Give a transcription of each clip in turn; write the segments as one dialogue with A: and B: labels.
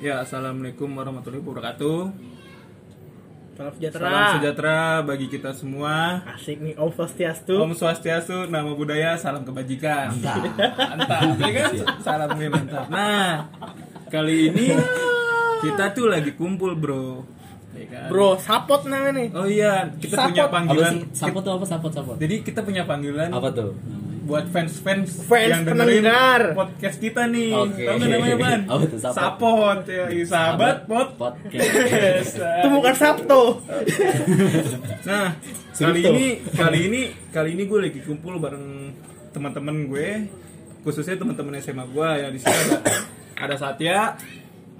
A: Ya, assalamualaikum warahmatullahi wabarakatuh.
B: Salam sejahtera.
A: Salam sejahtera bagi kita semua.
B: Asik nih Om Swastiastu.
A: Om Swastiastu, nama budaya, salam kebajikan. Mantap, ya kan? Salam nih mantap. Nah, kali ini kita tuh lagi kumpul, Bro. Ya kan?
B: Bro, sapot namanya nih.
A: Oh iya, kita
B: Sapot.
A: punya
C: Apa
A: panggilan.
C: sih? Sapot tuh apa? Sapot, sapot.
A: Jadi kita punya panggilan
C: Apa tuh?
A: buat fans-fans
B: Fans
A: yang dengerin
B: pendengar.
A: podcast kita nih.
C: Oke.
A: Tahu nggak namanya, Ban?
C: Apa tuh, sapot?
A: Sapot, ya, sahabat pot.
C: Podcast.
B: Itu bukan Sabto.
A: Nah, kali ini kali ini kali ini gue lagi kumpul bareng teman-teman gue, khususnya teman-teman SMA gue ya di sini ada, ada Satya,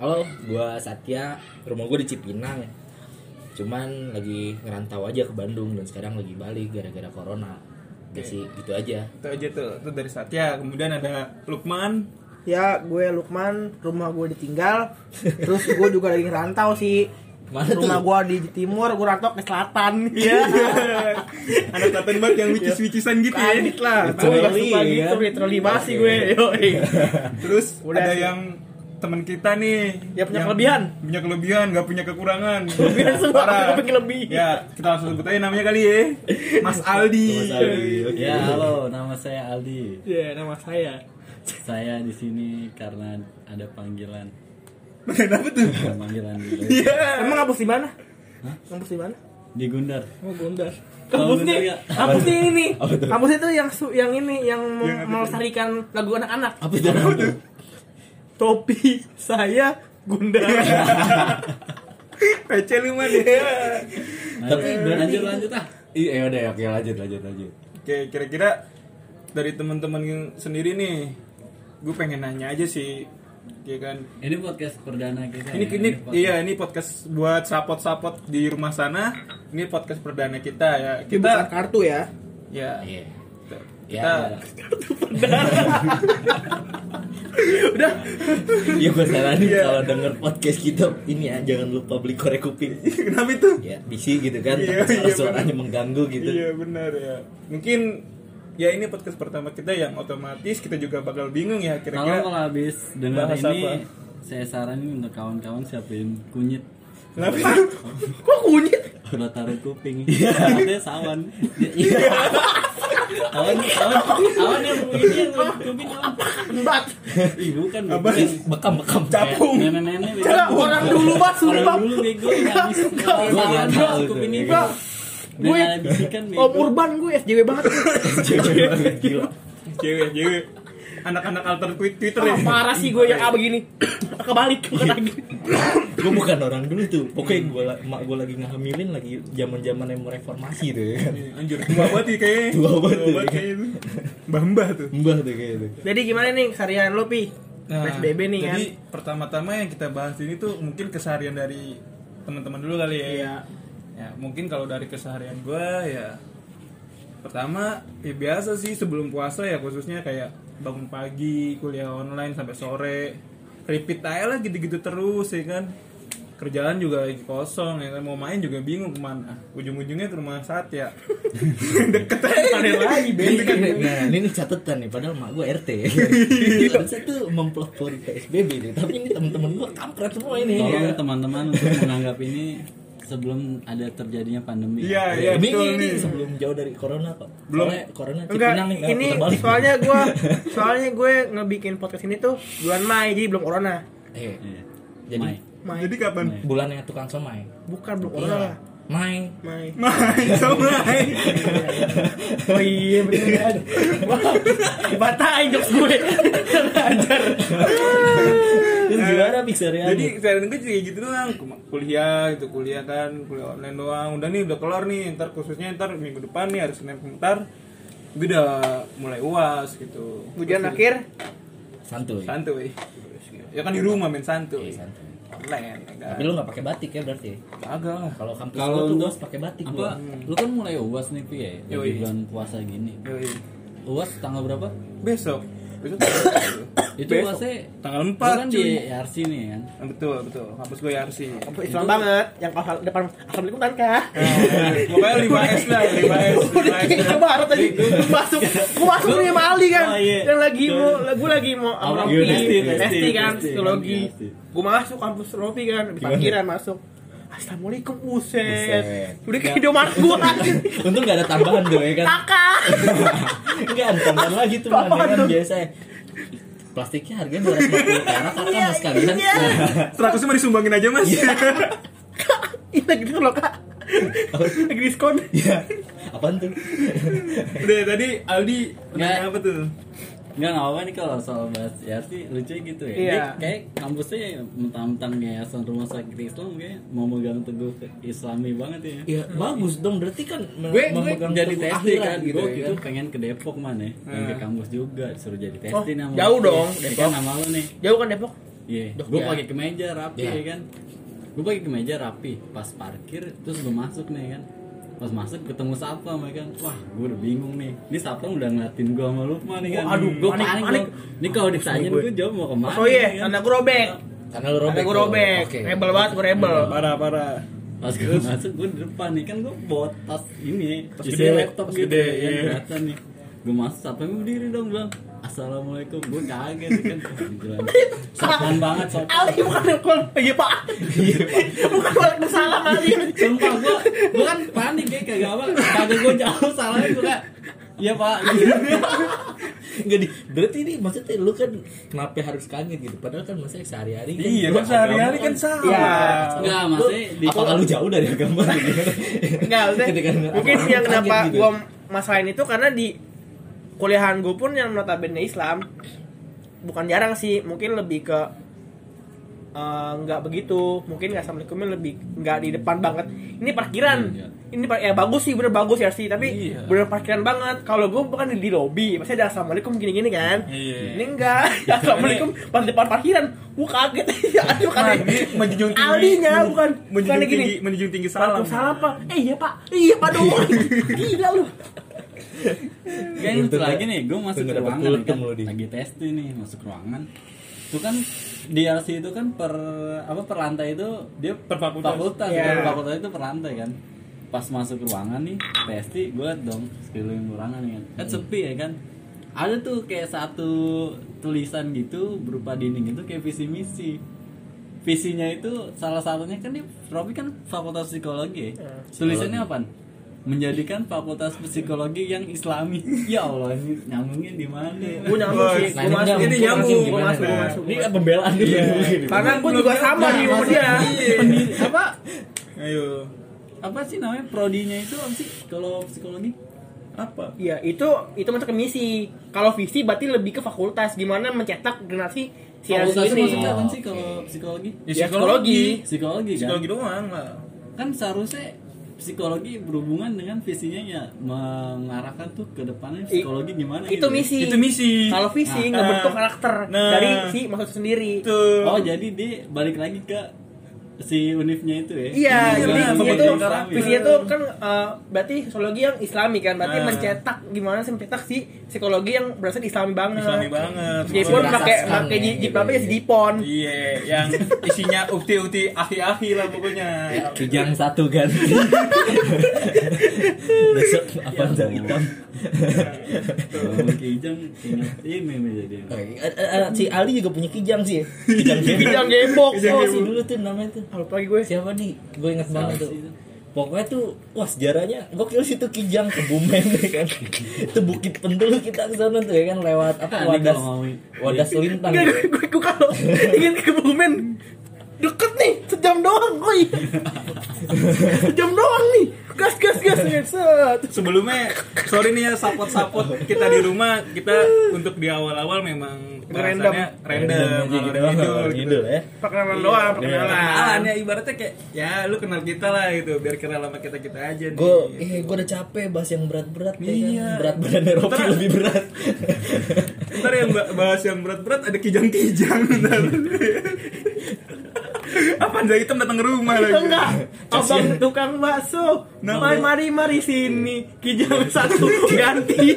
D: Halo, gua Satya. Rumah gua di Cipinang. Cuman lagi ngerantau aja ke Bandung dan sekarang lagi balik gara-gara corona. Jadi sih gitu aja.
A: itu aja tuh, itu dari Satya. Kemudian ada Lukman,
B: Ya, gue Lukman, rumah gue ditinggal. Terus gue juga lagi ngerantau sih.
D: Mana tuh?
B: rumah gue di timur, gue rantau ke selatan.
A: iya, anak Klaten banget yang wicis-wicisan gitu ya.
B: Adit lah, Iya. Tapi
D: Literally,
B: gak suka gitu,
D: kan?
B: literally basi gue. Yoi.
A: Terus
B: Udah
A: ada
B: sih.
A: yang teman kita nih
B: Ya, punya kelebihan.
A: punya kelebihan nggak punya kekurangan
B: Kelebihan semua,
A: Parah.
B: tapi kelebihan.
A: ya kita langsung sebut aja namanya kali ya Mas Aldi
D: Mas Aldi, oke.
C: ya, halo, nama saya Aldi.
B: Ya, nama saya.
C: Saya di sini karena ada panggilan.
A: kenapa tuh
C: Ada panggilan di,
A: Iya.
B: Emang ngapus di mana? Ngapus di mana?
C: di Gundar.
B: Oh, Gondar.
C: Oh,
B: Kampusnya,
C: Gondar ya.
B: kampusnya ini.
C: Apa tuh?
B: Kampus itu yang su- yang ini yang, mem-
A: Yang apa tuh?
B: melestarikan lagu anak-anak.
C: Apa itu? Apa itu?
B: Topi saya Gundar.
A: Pecel lu ya. mah dia
C: Tapi berarti
D: Lanjut lanjut ah.
C: Iya, udah ya, oke lanjut lanjut lanjut.
A: Oke, kira-kira dari teman-teman yang sendiri nih, gue pengen nanya aja sih, ya kan?
C: Ini podcast perdana kita.
A: Ini,
C: ya,
A: ini
C: podcast-
A: iya ini podcast buat sapot-sapot di rumah sana. Ini podcast perdana kita ya. Kita
B: Kita kartu ya.
A: ya
D: Iya.
A: kita,
D: Ya. Ya gua saranin
C: Iya.
D: kalau denger podcast kita ini ya jangan lupa beli korek kuping.
A: kenapa itu?
D: Ya, bisi gitu kan.
A: Iya, iya,
D: Suara-suaranya mengganggu gitu.
A: Iya benar ya. Mungkin ya ini podcast pertama kita yang otomatis kita juga bakal bingung ya
C: Kalau
A: kira-kira.
C: kalau habis dengar
A: Bahas
C: ini
A: apa?
C: saya saranin untuk kawan-kawan siapin kunyit
A: Kenapa?
B: Kok kunyit?
C: buat taruh kuping.
A: Iya.
C: Katanya sawan. Iya.
D: Awan awan awan yang ini yang kuping awan.
B: Kan, Bat.
C: Ih, bukan.
A: Apa?
C: bukan.
D: Bekam-bekam.
A: Capung.
C: Nenek-nenek bego.
B: Enggak, orang dulu bat
C: Orang
B: sumpah.
C: dulu bego yang habis
D: Gua
C: Gua
D: nggak Iya, tahu
C: cukup
D: tuh.
C: Iya, ini
D: Gua-
C: bego. Dan
B: gue-
C: ada bisikan bego.
B: Om Urban gue SJW banget.
D: Iya, Gila.
A: Cewek, cewek. Anak-anak alter tweet Twitter
B: Ah,
A: ya.
B: parah sih gue yang A begini. Kebalik bukan lagi.
D: gue bukan orang dulu tuh pokoknya gue mak gue lagi ngehamilin lagi zaman zaman yang mau reformasi tuh ya kan
A: Iya, Anjir, tua banget nih kayaknya.
D: Tua banget tuh.
B: ya.
A: kayaknya tuh. Mbah-mbah tuh.
D: mbah tuh kayak gitu. itu
B: Jadi gimana nih kesarian lo Pi? PSBB nih kan.
A: Nah, Jadi pertama-tama yang kita bahas ini tuh mungkin keseharian dari teman-teman dulu kali ya.
B: Iya.
A: Ya, mungkin kalau dari keseharian gue ya pertama ya biasa sih sebelum puasa ya khususnya kayak bangun pagi, kuliah online sampai sore, repeat aja lah gitu-gitu terus ya kan. Kerjaan juga lagi kosong ya kan mau main juga bingung kemana. Ujung-ujungnya ke rumah Satya. Deket aja. Ada lagi
D: nah ini nih catatan nih padahal mak gue RT harusnya tuh mempelopori PSBB nih tapi ini temen-temen gue kampret semua ini
C: Tolong teman-teman untuk menganggap ini sebelum ada terjadinya pandemi.
A: Iya, iya
D: Ya, ini,
A: betul
D: ini,
A: nih.
D: sebelum jauh dari corona kok
A: Belum.
D: Soalnya corona
B: Enggak,
D: Cipinang nih
B: ini
D: putar balik.
B: soalnya gue soalnya gue ngebikin podcast ini tuh bulan Mei jadi belum corona.
D: eh,
C: Iya.
D: Jadi-
C: Mai.
B: Mei.
A: Jadi kapan?
D: bulannya tukang somai
B: bukan belum corona lah.
D: Iya. Mai
B: Mei.
A: Main somai.
B: Oh iya beneran. Wah, dibatahin jokes gue. Ajar.
D: Terus gimana Pixar ya?
A: Jadi saran gue juga gitu doang Kuma- kuliah gitu kuliah kan kuliah online doang udah nih udah kelar nih ntar khususnya ntar minggu depan nih hari senin bentar gue udah mulai uas gitu
B: Hujan akhir
D: santuy
A: santuy ya kan di rumah main santuy
D: Iya, santuy.
A: online ya kan?
D: tapi lu nggak pakai batik ya berarti
A: kagak lah
D: Kalau kampus
C: Kalau
D: gua tuh
C: untuk
D: UAS pakai batik
C: Apa?
D: gua.
C: Lu kan mulai uas nih Pi ya, di
A: Yoi.
C: bulan puasa gini.
A: Yoi.
C: Uas tanggal berapa?
A: besok Besok tanggal berapa?
C: Itu
B: Besok.
C: puasanya
A: Tanggal
C: lu
A: 4
C: kan
A: cuy.
C: di ARC nih kan.
A: Ah, Betul, betul. Kampus gue ya, Yarsi.
B: Kampus Islam banget yang kalau depan assalamualaikum kan kak
A: Pokoknya 5S lah, 5S.
B: udah kayak ke barat tadi Gua masuk Ah, iya. gua masuk nih sama Ali kan
C: Oh, iya.
B: yang lagi mau gue lagi mau sama
C: Apa?
B: Ropi
C: Testi, testi,
B: testi kan
C: testi.
B: psikologi
C: Testi.
B: gue masuk kampus Ropi kan di parkiran masuk Assalamualaikum
D: Buset.
B: Uset Udah kayak Indomaret gue anjing
D: Untung gak ada tambahan tuh ya kan.
B: Kakak
D: Enggak ada tambahan lagi tuh
B: Apaan
D: kan
B: tuh?
D: biasa. Plastiknya harganya 250 perak kan
B: Iya,
D: mas kalian.
B: iya.
A: Seratusnya mau disumbangin aja mas.
B: Ini lagi gitu loh kak Lagi diskon
D: Iya. Apaan tuh?
A: Udah tadi Aldi nanya
C: Nggak.
A: apa tuh?
C: Enggak enggak apa nih kalau soal bahas ARC lucu gitu ya.
B: Iya.
C: Dia Kayak kampusnya mentang-mentang yayasan rumah sakit Islam kayak mau megang teguh ke Islami banget ya.
D: Ya bagus dong berarti kan me-
C: Gue gue
D: memegang
C: jadi
D: teguh
C: testing
D: akhirat
C: kan gitu. Gue
D: ya
C: gitu
D: kan.
C: pengen ke Depok mana? Pengen ke kampus juga disuruh jadi testing
B: Ah. Oh,
C: sama.
B: jauh dong,
C: Ya
B: Depok.
C: kan nama lo nih.
B: Jauh kan Depok?
C: Iya,
B: Dok,
C: gue
B: ya.
C: pakai kemeja rapi
D: Ya.
C: ya kan. Gue pakai kemeja rapi, pas parkir terus gue masuk nih kan. Pas masuk ketemu Sapam ya kan. Wah, gue udah bingung nih. Ini Sapam udah ngeliatin gue sama Lukman nih kan.
B: Oh, aduh,
C: gue
B: panik,
C: panik,
B: panik.
C: dong. Ini kalau ditanya gue jawab mau kemana?
B: Oh iya,
C: ya kan?
B: anak gue robek
D: Karena lu robek.
B: Anak gue
D: tuh.
B: robek
D: Oke.
B: Rebel banget, gue rebel
A: Parah parah.
C: Pas gue masuk gue di depan nih kan gue bawa tas ini,
A: Tas
C: isinya
A: gede,
C: laptop
A: tas
C: gitu
A: gede,
C: yang
A: iya.
C: kelihatan nih. Gue masuk Sapam berdiri dong bilang Assalamualaikum, gue kaget ya kan Gila, Sopan banget, sopan
B: Ali bukan nelfon Iya pak Bukan waalaikumsalam Ali
C: Sumpah gua gua kan panik ya kagak apa kagak gua jauh salahnya gua kayak Iya pak gitu.
D: Enggak di. Berarti ini maksudnya lu kan kenapa harus kaget gitu? Padahal kan maksudnya sehari-hari kan.
A: Iya
D: lu
A: kan sehari-hari
D: agama
A: kan sama.
B: Iya.
C: Enggak
D: Lu-
C: maksudnya di
D: apakah lu jauh dari agama gitu?
B: Enggak, maksudnya
D: Ketika ngeliat
B: mungkin
D: orang
B: yang
D: kaget
B: kenapa
D: gitu.
B: gua masalahin itu karena di kuliahan gue pun yang notabene Islam bukan jarang sih, mungkin lebih ke eh, nggak begitu, mungkin nggak assalamualaikumnya lebih nggak di depan banget. Ini parkiran,
C: Iya.
B: ini par- ya bagus sih, bener bagus ya sih, tapi
A: Hmm, Iya.
B: bener parkiran banget. Kalau gue bukan di, di lobby, maksudnya ada assalamualaikum gini-gini kan?
A: Iya.
B: Ini enggak, assalamualaikum pas depan parkiran, gue kaget,
A: Nah,
B: aduh kan
A: ini menjunjung tinggi.
B: Aldinya,
A: men-
B: bukan.
A: menjunjung
B: Bukan gini.
A: tinggi, menjunjung tinggi salam.
B: Salam. Salam, Pak. Eh, iya, Pak. Iya, Pak doang. Gila lu.
C: Kayak lucu lagi nih gua masuk
D: Tuh,
C: ke
D: nggak dapat
C: ruangan kan
D: kultum lu, Di.
C: lagi testing nih masuk ruangan itu kan di LC itu kan per apa per lantai itu dia
A: Per fakultas.
C: kan.
B: Iya.
C: Per fakultas itu per lantai kan pas masuk ruangan nih testi gue dong sekeliling ruangan nih kan kan sepi ya kan ada tuh kayak satu tulisan gitu berupa dinding itu kayak visi misi visinya itu salah satunya kan dia Robi kan fakultas psikologi ya. tulisannya apa menjadikan fakultas psikologi yang islami ya Allah ini nyambungnya di mana ya?
B: Gua nyambung sih.
D: Nah,
B: Gua masuk.
D: ini nggak
A: Ini
D: mungkin,
A: nyambung.
D: gimana
B: Gua masuk, gua
D: dong?
B: Iya, masuk.
D: Ini kan pembelaan gitu.
A: Iya,
B: Karena gua juga sama di umur dia. Iya.
C: Pendiri- apa
A: Ayo.
C: apa sih namanya prodinya itu apa sih kalau psikologi apa
B: Iya, itu itu masuk ke misi. Kalau visi berarti lebih ke fakultas gimana mencetak generasi si
C: fakultas itu
B: ini.
C: maksudnya apa
D: Oh,
C: sih kalau
D: oke.
C: psikologi
A: Ya,
B: Ya,
A: psikologi.
C: psikologi kan
A: Psikologi doang lah.
C: kan seharusnya psikologi berhubungan dengan visinya ya mengarahkan tuh ke depannya psikologi gimana
B: Itu
C: gitu.
B: misi.
A: Itu misi.
B: Kalau visi
A: Nah.
B: ngebentuk karakter
A: Nah.
B: dari si maksud sendiri.
A: Itu.
C: oh jadi dia balik lagi ke si unifnya itu ya
B: Iya,
A: Iya,
B: jadi
A: bener.
B: visinya
A: Pembentukan
B: tuh
A: karakter.
B: visinya tuh kan eh, berarti psikologi yang islami kan, berarti
A: Nah.
B: mencetak gimana sih mencetak si psikologi yang berasal islami banget.
A: Islami banget.
B: Jepun
D: Merasa
B: pakai
D: sekali,
B: pakai
D: gitu
B: jip apa
D: ya.
B: ya si jipon.
A: Iya, yang isinya ukti-ukti aki-aki lah pokoknya.
D: Kijang satu ganti. Besok apa
C: Ya
D: jam hitam?
C: Ngomong kijang ingat ini nih jadinya.
D: Eh, eh, eh, Si Ali juga punya kijang sih. ya. Kijang
B: Kijang gembok.
D: Oh, si dulu tuh namanya tuh.
B: Halo pagi gue.
D: Siapa nih? Gue inget
C: Siapa
D: banget tuh.
C: sih itu?
D: Pokoknya tuh, wah sejarahnya gokil sih tuh kijang kebumen ya kan. Itu bukit pendul kita ke sana tuh ya kan lewat apa
C: Aneh
D: wadas
C: kalau ngomongin.
D: wadas lintang.
B: Gue gue- gue gue kalau ingin ke Kebumen deket nih sejam doang gue sejam doang nih gas gas gas gas, set
A: Sebelumnya, sorry nih ya support-support kita di rumah kita untuk di awal-awal memang
B: Random.
A: bahasannya random,
D: Random aja gitu,
A: random,
D: ngalor ngidul ya.
A: Iya.
B: perkenalan doang
A: Kenalan
B: perkenalan
A: ya ibaratnya kayak ya lu kenal kita lah gitu biar kenal sama kita kita aja nih.
D: Gue eh gue udah capek bahas yang berat-berat ya kan.
A: Iya.
D: Berat-berat Eropa
A: Ntar-
D: lebih berat.
A: Ntar yang ba- bahas yang berat-berat ada kijang-kijang ntar. Apa Anda hitam datang ke rumah
B: itu
A: lagi?
B: Iya, enggak
A: Iya.
B: abang tukang bakso
A: Nah,
B: mari mari mari sini kijang satu ganti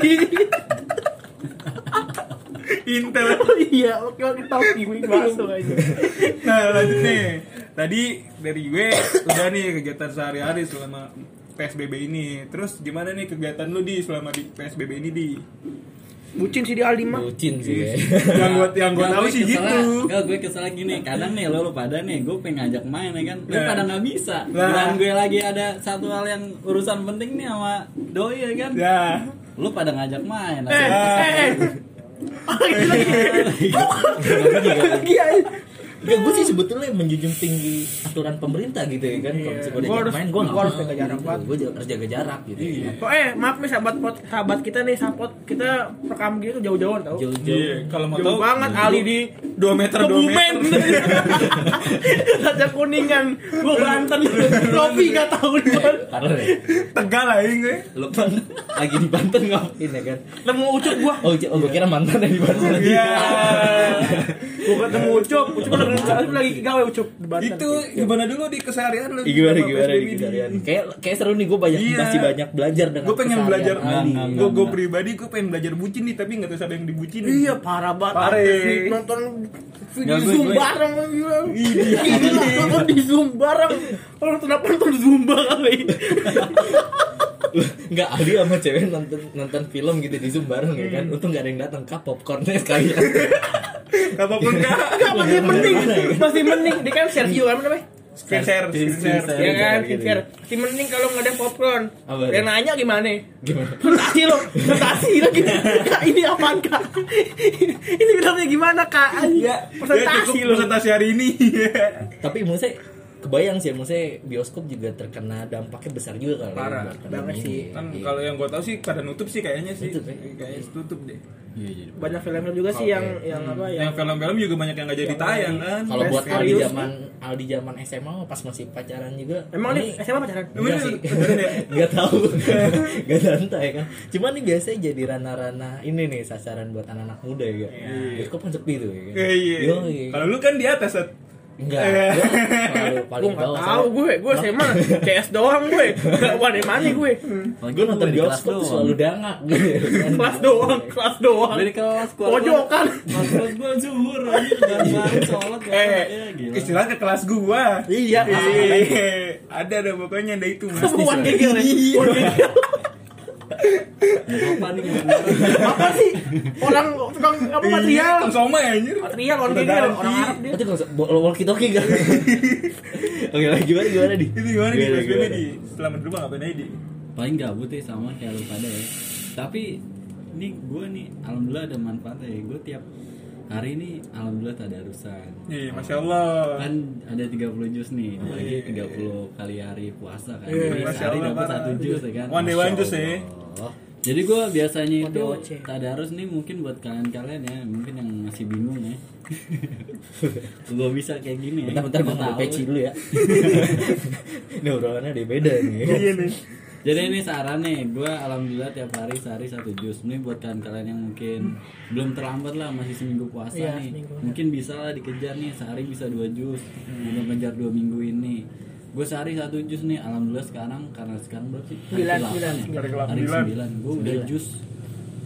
A: Intel.
B: iya oke oke tau kiwi bakso aja
A: Nah lanjut nih. Tadi dari gue udah nih kegiatan sehari-hari selama PSBB ini. Terus gimana nih kegiatan lu di selama di PSBB ini di?
B: bucin sih di Aldi mah
D: bucin sih ya. gue.
A: yang gua yang gua
C: Nah,
A: tahu sih
C: keselnya-
A: gitu.
C: enggak, gue kesel gini. Kadang nih lo, lo pada nih, gue pengen ngajak main ya kan. Lo
A: Nah.
C: pada nggak bisa.
A: Nah.
C: Dan gue lagi ada satu hal yang urusan penting nih sama doi ya kan.
A: Ya.
C: Lo pada ngajak
B: eh
C: main. akhirnya
A: Ah.
B: eh eh lagi lagi lagi aja
D: Ya, gue sih sebetulnya menjunjung tinggi aturan pemerintah gitu ya kan. Kalau misalnya
B: Gua
D: gue
B: harus-
D: main, gue nggak
B: gua harus
D: mau
B: jaga jarak
D: gitu.
B: banget.
D: Gue harus jaga jarak gitu. ya kan.
B: Oh, eh maaf nih sahabat pot, sahabat kita nih sahabat kita rekam gini tuh jauh-jauhan tau jauh,
D: Jauh-jauh.
A: Iya, kalau mau tahu
B: jauh banget Ali di
A: 2 meter 2 meter.
B: Kebumen Raja Kuningan Gue Banten Lopi gak tau duluan
D: Karena ya,
A: Tegal eh. aja gue.
D: lu kan lagi di Banten ngapain ya kan?
B: Ketemu Ucup gue
D: Oh, j- oh gue kira mantan yang di Banten lagi.
A: Iya.
B: Gue ketemu Ucup Ucup lagi, Ucup lagi gawe Ucup di Banten
A: Itu gimana dulu di keseharian lu?
D: Ih, Gimana
A: sama
D: gimana
A: PSBB
D: nih
A: di-
D: keseharian? Iya. Kayak kayak seru nih gue banyak
A: Iya.
D: masih banyak belajar dengan
A: Gue pengen
D: keseharian
A: belajar
D: Ali.
C: Enggak, enggak,
A: Gue gue
C: enggak.
A: pribadi gue pengen belajar bucin nih tapi nggak tahu siapa yang dibucin.
B: Iya parah banget
A: Parah. ya.
B: Sampai Nonton video
C: Gak, gue-
B: Zoom
C: gue-
B: bareng gila.
A: Iya,
B: Gila nonton di Zoom bareng Orang kenapa nonton Zumba kali
D: Enggak Ali sama cewek nonton nonton film gitu di Zoom bareng ya
A: Hmm.
D: kan. Untung gak ada yang datang kak popcornnya sekalian.
A: Apapun kak.
B: Enggak masih mending
A: iya,
B: Masih mending Dia kan share view apa namanya
A: Screen share, screen share.
D: share.
B: Ya kan,
A: iya,
D: gitu.
B: skincare. Masih mending kalau nggak ada popcorn.
D: Apa
B: Dia
D: tuh?
B: nanya gimana?
D: Gimana?
B: Presentasi lo, presentasi lagi. Kak, ini apaan kak? ini bilangnya gimana kak?
A: Iya,
B: presentasi
A: cukup
B: lo.
A: presentasi hari ini.
D: Tapi maksudnya kebayang sih ya, maksudnya bioskop juga terkena dampaknya besar juga kalau
A: Parah,
D: buat pandemi
B: banget
D: ini.
B: sih.
A: kan
D: Iya.
A: kalau yang gue tahu sih pada nutup sih kayaknya sih.
D: Nutup ya?
A: Kayaknya tutup deh.
C: Iya, jadi.
B: Banyak filmnya juga sih yang yang apa ya?
A: Yang film-film juga banyak yang nggak jadi
B: Yang
A: tayang kan.
D: kalau buat
B: Serius
D: Aldi
B: nih.
D: zaman Aldi zaman SMA mah pas masih pacaran juga.
B: Emang
D: ini-
B: nih SMA pacaran?
A: Emang
D: Enggak
A: ini
D: sih.
A: beneran ya?
D: Enggak tahu. Enggak santai kan. Cuman ini biasanya jadi ranah-ranah ini nih sasaran buat anak-anak muda ya. Kak? Bioskop kan sepi tuh ya. kan?
A: Iya, iya.
D: Yoi.
A: Kalau lu kan di atas, Sat.
D: Enggak.
A: Eh.
B: Gue
D: Gua selalu paling
B: nggak
D: bawah.
B: tahu gue, gue SMA CS doang gue. Gak ada mana gue.
C: Lagi
D: Gue nonton
C: di kelas
D: bioskop tuh
C: doang.
D: selalu dangak gitu. ya kan.
B: Kelas doang, kelas doang.
C: Dari kelas keluar-
B: Pojokan.
C: Kelas kelas gue zuhur anjing dan
D: Iya.
C: baru sholat ya. Ya,
A: Eh,
C: gila.
A: istilah ke kelas gua.
B: Iya.
A: Iya. Ada ada pokoknya ada itu mas. Iya.
B: Semua gigil nih. One gigil.
C: Apa nih? bener-bener?
B: Apa sih? Orang tukang apa material?
A: Iya, sama ya anjir.
B: Material orang
A: Udah
B: gigil,
A: ganti.
B: orang Arab dia.
D: Itu kalau walkie talkie kan. Oke, lah gimana gimana di?
A: Itu gimana di
D: Gimana,
A: PSBB
D: gimana?
A: di? Selama di rumah ngapain aja di?
C: paling gabut ya sama kayak lu pada ya tapi ini gue nih alhamdulillah ada manfaatnya ya gue tiap hari ini alhamdulillah tadarusan
A: Iya, masya Allah.
C: kan ada 30 jus nih
A: Iya,
C: apalagi 30 kali hari puasa kan jadi
A: Masya
C: sehari
A: Allah,
C: dapat
A: parah.
C: satu jus ya kan
A: One day one jus ya.
D: Oh.
C: jadi gue biasanya itu
B: One day one
C: tadarus nih mungkin buat kalian-kalian ya mungkin yang masih bingung ya gue bisa kayak gini ya
D: Bentar-bentar gue
C: Gua
D: ngambil
C: tahu.
D: peci dulu ya. Ini obrolannya udah beda nih.
A: Iya nih.
C: Jadi ini saran nih, gue alhamdulillah tiap hari sehari satu jus. Ini buat kalian-kalian yang mungkin belum terlambat lah, masih seminggu puasa
B: Iya,
C: nih.
B: seminggu. Hmm.
C: Mungkin bisa lah dikejar nih, sehari bisa dua jus. Belum kejar dua minggu ini. Gue sehari satu jus nih, alhamdulillah sekarang karena sekarang berapa sih? Hari
B: Sembilan,
C: ke-8
B: sembilan,
C: ya?
B: sembilan.
A: Hari ke-8.
C: Hari sembilan. Gue udah
D: Sembilan.
C: jus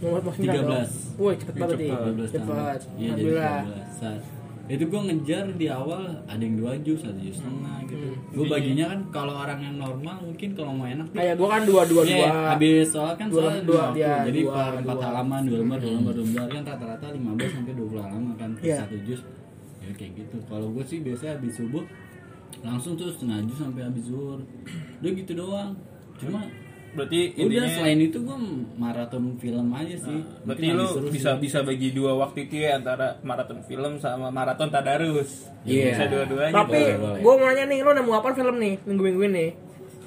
B: Nomor 9
C: 13.
B: Woi cepet banget nih Cepet
C: 13 Iya, tahun. Iya, jadi
B: Alhamdulillah
C: 13. Saat- itu gue ngejar di awal ada yang dua jus, ada jus setengah gitu.
B: Hmm.
C: Gue baginya kan kalau orang yang normal mungkin kalau mau enak
B: Kayak gua kan dua-dua
C: Iya,
B: dua
C: habis soal kan
B: Dua,
C: soal
B: dua,
C: dua,
B: iya,
C: jadi
B: dua,
C: per empat
B: dua.
C: halaman dua lembar dua lembar dua lembar kan rata-rata 15 sampai 20 halaman kan per
B: Iya.
C: satu jus ya kayak gitu kalau gue sih biasanya habis subuh langsung tuh setengah jus sampai habis zuhur udah gitu doang cuma
A: Berarti
C: udah
A: intinya- Ah,
C: selain itu gue maraton film aja sih
A: Berarti
C: Mungkin
A: lu
C: habis ya. seru sih.
A: bisa bisa bagi dua waktu itu ya antara maraton film sama maraton tadarus.
D: Iya.
A: Bisa dua-duanya.
B: Tapi
D: Boleh, boleh.
B: gua mau nanya nih Lo nemu apa film nih Minggu-minggu ini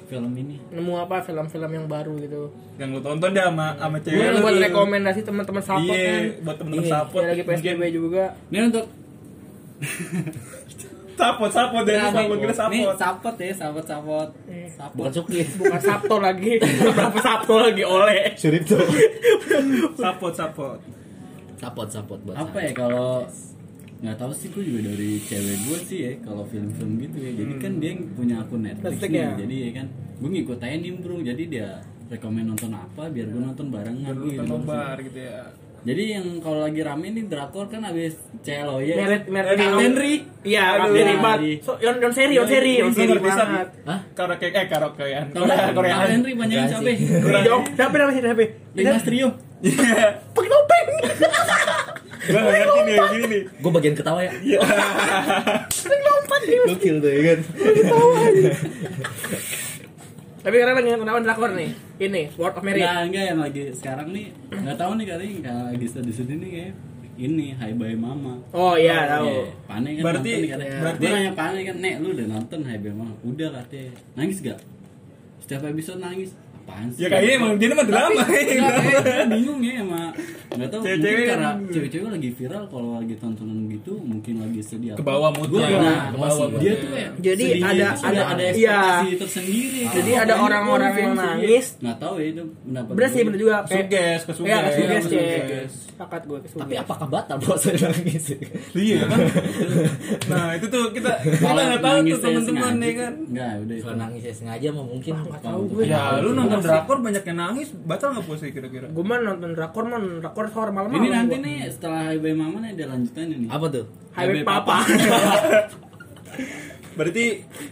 C: film ini
B: Nemu apa film-film yang baru gitu
A: yang lu tonton deh sama sama
B: Gue
A: cewek lu.
B: buat rekomendasi teman-teman support
A: Iya,
B: kan
A: buat temen-temen
B: Iya,
A: support.
B: yang lagi PSBB juga
C: ini untuk
A: Sapot, sapot,
C: Nah,
A: dan sapot,
C: nih,
A: kita
C: nih
A: sapot.
C: sapot ya sapot sapot
B: Iya.
C: sapot
D: Bukan Sukri.
B: Bukan Sabtu lagi Berapa Sabtu lagi oleh
D: Suripto.
A: Sapot, sapot.
D: Sapot sapot buat
C: apa
D: saya.
C: ya kalau nggak tahu sih gue juga dari cewek gue sih ya kalau film-film gitu ya jadi kan dia yang punya akun Netflix
B: Netflix
C: nih
B: ya.
C: jadi ya kan gue ngikut aja nimbrung jadi dia rekomend nonton apa biar gue nonton barengan
A: Lu
C: gitu
A: nobar gitu ya.
C: jadi Jadi yang kalau lagi rame nih drakor kan abis celoye.
B: Merit merit
C: Kapten Henry.
B: Iya,
A: Aduh.
B: Kapten Ribat. So, on on seri, on seri, on
A: Lu
B: seri
A: nggak bisa
B: banget.
C: Hah?
A: karaoke eh karaokean
C: Tahu nggak? Kapten Henry panjangnya
D: Enggak
C: siapa? ya?
D: sih.
B: Ini jawab, tapi apa sih tapi?
C: Dimas Trio.
B: Pakai topeng.
A: Gue gak ngerti nih yang gini nih
D: Gue bagian ketawa ya.
B: Lompat dia.
D: Gokil tuh ya kan.
B: Tapi karena lagi nonton drakor nih. Ini World of Merit.
C: Nah, enggak yang lagi sekarang nih nggak tahu nih kali nggak lagi sedih-sedih nih kayak ini Hai Bye Mama.
B: Oh iya, tahu.
C: Iya, Pane kan
A: Berarti- ya,
C: nonton nih katanya.
A: berarti-
C: Gua nanya Pane kan, Nek lu udah nonton Hai Bye Mama? Udah katanya. Nangis gak? Setiap episode nangis. Apaan sih?
A: Ya kayaknya emang dia emang drama Iya.
C: Enggak, kayak gue bingung ya sama Gak tau, mungkin
A: Cewek-cewek kan.
C: karena
A: yang-
C: cewek-cewek lagi viral kalau lagi tontonan gitu Mungkin lagi sedih apa.
A: Ke bawah moodnya.
C: Gua- nah,
D: Ke bawah
C: dia
D: moodnya.
C: tuh ya
B: Jadi
C: sedihnya
B: ada-
C: itu sudah
B: ada-
C: ada
B: iya.
C: ekspektasi tersendiri
B: Jadi ada orang-orang yang nangis.
C: Nggak tahu ya itu pendapat
B: Bener sih,
C: gue.
B: bener juga. Kayak-
A: Suges, ke
B: Iya,
A: Suges
B: kesuges
A: Ke
B: cek.
A: Suges.
B: Sepakat gue kesuges.
D: Tapi apakah batal puasa nangis?
A: Iya kan Nah itu tuh kita Kita
C: Kalau
A: gak tahu tuh
C: nangisnya
A: temen-temen
C: sengaja
A: ya
C: tuh-
A: kan
C: Nggak, udah itu
D: Kalau nangis ya sengaja mah mungkin.
B: tahu gue.
D: Iya,
A: Ya lu nonton drakor banyak yang nangis Batal gak puasa kira-kira
B: Gue mah nonton drakor, mah nonton drakor sore malam.
C: Ini nanti nih setelah Hai Bye Mama nih ada lanjutannya nih
D: Apa tuh?
B: Highway
C: Highway
B: Papa.
A: Berarti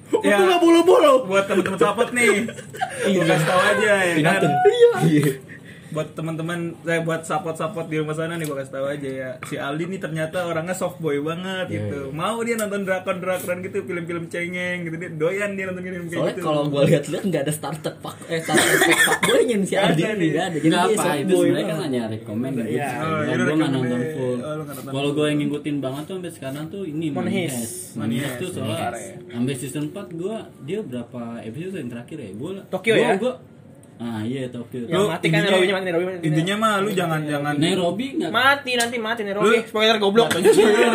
B: Itu
D: Iya.
B: nggak bulu-bulu.
A: Ya, buat temen-temen sahabat nih Gue kasih tau aja ya kan
D: Ingatun. Iya.
A: buat teman-teman saya buat support-support di rumah sana nih gua kasih tahu aja ya si Aldi nih ternyata orangnya soft boy banget
D: Iya,
A: gitu mau dia nonton drakor drakoran gitu film-film cengeng gitu dia doyan dia nonton film kayak
D: Soalnya
A: gitu
D: kalau gue lihat-lihat nggak ada starter pak eh starter pak pak gue nyen si Aldi
A: Nggak ada
D: ini
A: nih.
D: nggak ada. Jadi
C: Nggak
D: dia
C: apa,
D: soft
C: itu
D: boy
C: sebenarnya kan
D: banget.
C: hanya rekomend gitu.
B: Iya.
A: Oh,
C: Gue
A: jadi
C: nggak
A: recommend.
C: nonton full.
A: Oh, lu nggak nonton
C: Kalau gue yang ngikutin banget tuh sampai sekarang tuh ini
B: Monhes.
C: Monhes. Monhes tuh soalnya
A: Monhes.
C: sampai season 4 gue dia berapa episode yang terakhir ya? Gue
B: Tokyo ya?
C: Gua, ah iya Tokyo.
B: Ya,
A: Lu
B: mati kan
A: intinya-
B: Nairobi mati Nairobi mati.
A: intinya mah lu jangan jangan
C: Nairobi nggak?
B: mati nanti mati
A: Lu-
B: Nairobi. Spoiler goblok.
D: Iya,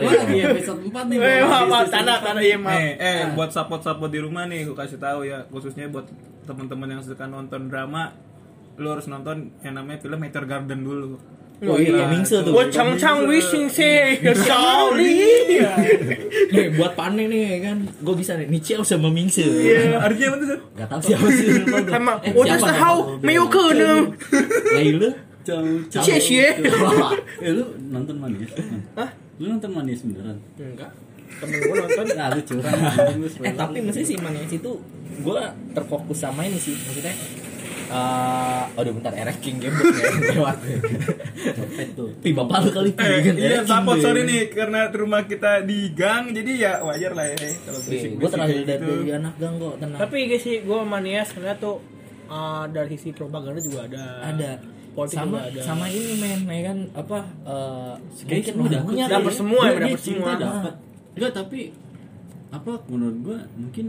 C: Gue lagi episode 4 nih. gua
B: Eh,
C: masih
B: maaf,
C: season
B: tanda
C: empat.
B: tanda iya maaf.
A: eh, eh buat support-support di rumah nih gua kasih tahu ya khususnya buat teman-teman yang suka nonton drama lu harus nonton yang namanya film Meteor Garden dulu
D: Oh iya, Mingse tuh.
B: Wo chang chang wishing say sorry.
D: Nih buat Pane nih ya kan, gue bisa nih Nicheo sama Mingse.
A: artinya apa tuh Sat?
D: Gak tau siapa sih. lupa gua.
B: Sama
D: Eh,
B: what
D: siapa
B: is the
D: nama
B: how
D: lu?
B: me you know?
D: Laila.
C: Cau, cau.
B: Cie, cie.
C: Wah, Eh lu nonton manis?
B: Hah?
C: Lu nonton manis beneran?
B: Enggak. Temen gue nonton.
C: Nah lu curang. anjing, lu
D: Eh
C: spoiler.
D: tapi mesti sih Mane situ gue terfokus sama ini sih maksudnya. Eh, aduh bentar Eric King game lewat.
C: Copet tuh.
D: Pi bapak lu kali Pi,
A: Eh,
D: kan?
A: iya
D: Eric King
A: support
D: deh.
A: sorry nih karena rumah kita di gang jadi ya wajar lah ya kalau berisik
D: Gue terakhir dari, dari anak gang kok tenang.
B: Tapi guys sih gue mania sebenarnya tuh eh, dari sisi propaganda juga ada.
D: ada
B: Politik
D: sama
B: juga ada.
D: sama ini men ya kan apa eh
C: Kayak
D: mungkin
C: semua
B: Dapet
D: orangnya kali
C: dapet sih.
D: ya.
B: semua,
C: Dia-
B: emang
C: dia
B: dapet
C: cinta
B: semua.
C: dapet. Enggak tapi apa menurut gua mungkin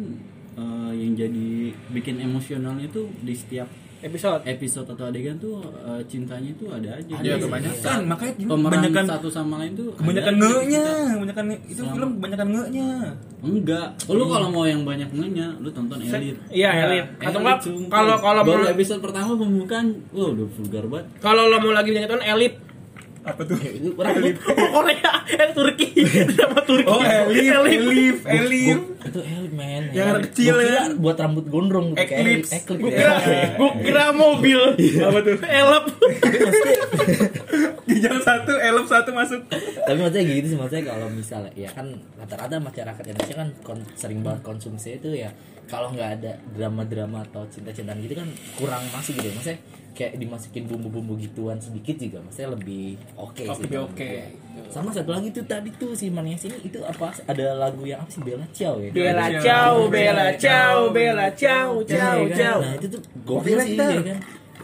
C: eh, yang jadi bikin emosionalnya tuh di setiap
B: Episode.
C: episode atau adegan tuh eh, cintanya tuh ada aja.
A: Iya
C: Jadi,
A: kebanyakan, gitu. makanya gini,
C: Pemeran
B: kan?
A: kebanyakan
C: satu sama lain tuh ada
A: kebanyakan
C: aja
A: ngenya,
C: cinta.
A: kebanyakan nge- itu film kebanyakan ngenya.
C: Enggak. Oh, lu kalau mau yang banyak ngenya, lu tonton Elite.
B: Iya,
D: Ya,
B: elit. Atau enggak kalau kalau
C: baru
B: mau-
C: episode pertama pembukaan, wah udah vulgar banget.
B: kalau lo mau lagi nonton elit
A: Apa tuh?
D: Rambut.
B: Korea eh Turki sama Turki
A: Oh, Elif, Elif, Elif.
D: Gua- itu Elif men ya
A: Yang anak kecil,
D: Gua kira
A: kan?
D: buat rambut gondrong gitu kayak
A: Eclipse.
D: Elif. Eclipse
B: Gua
D: ya.
B: kira, gua kira mobil. Apa tuh? Elep.
A: Di jam satu, Elif satu masuk.
D: tapi maksudnya gitu sih maksudnya kalau misalnya ya kan rata-rata masyarakat Indonesia kan kon- sering banget konsumsi itu ya kalau nggak ada drama-drama atau cinta-cintaan gitu kan kurang masuk gitu ya. maksudnya kayak dimasukin bumbu-bumbu gituan sedikit juga maksudnya lebih oke sih
A: Lebih
D: menurut
A: oke.
D: gua. sama satu lagi tuh tadi tuh si Mania sini itu apa ada lagu yang apa sih Bella Ciao ya
B: Bella ciao, Bella ciao, Bella ciao, ciao,
D: Iya, kan?
B: ciao.
D: Nah itu tuh gokil sih
A: Director.
D: ya kan.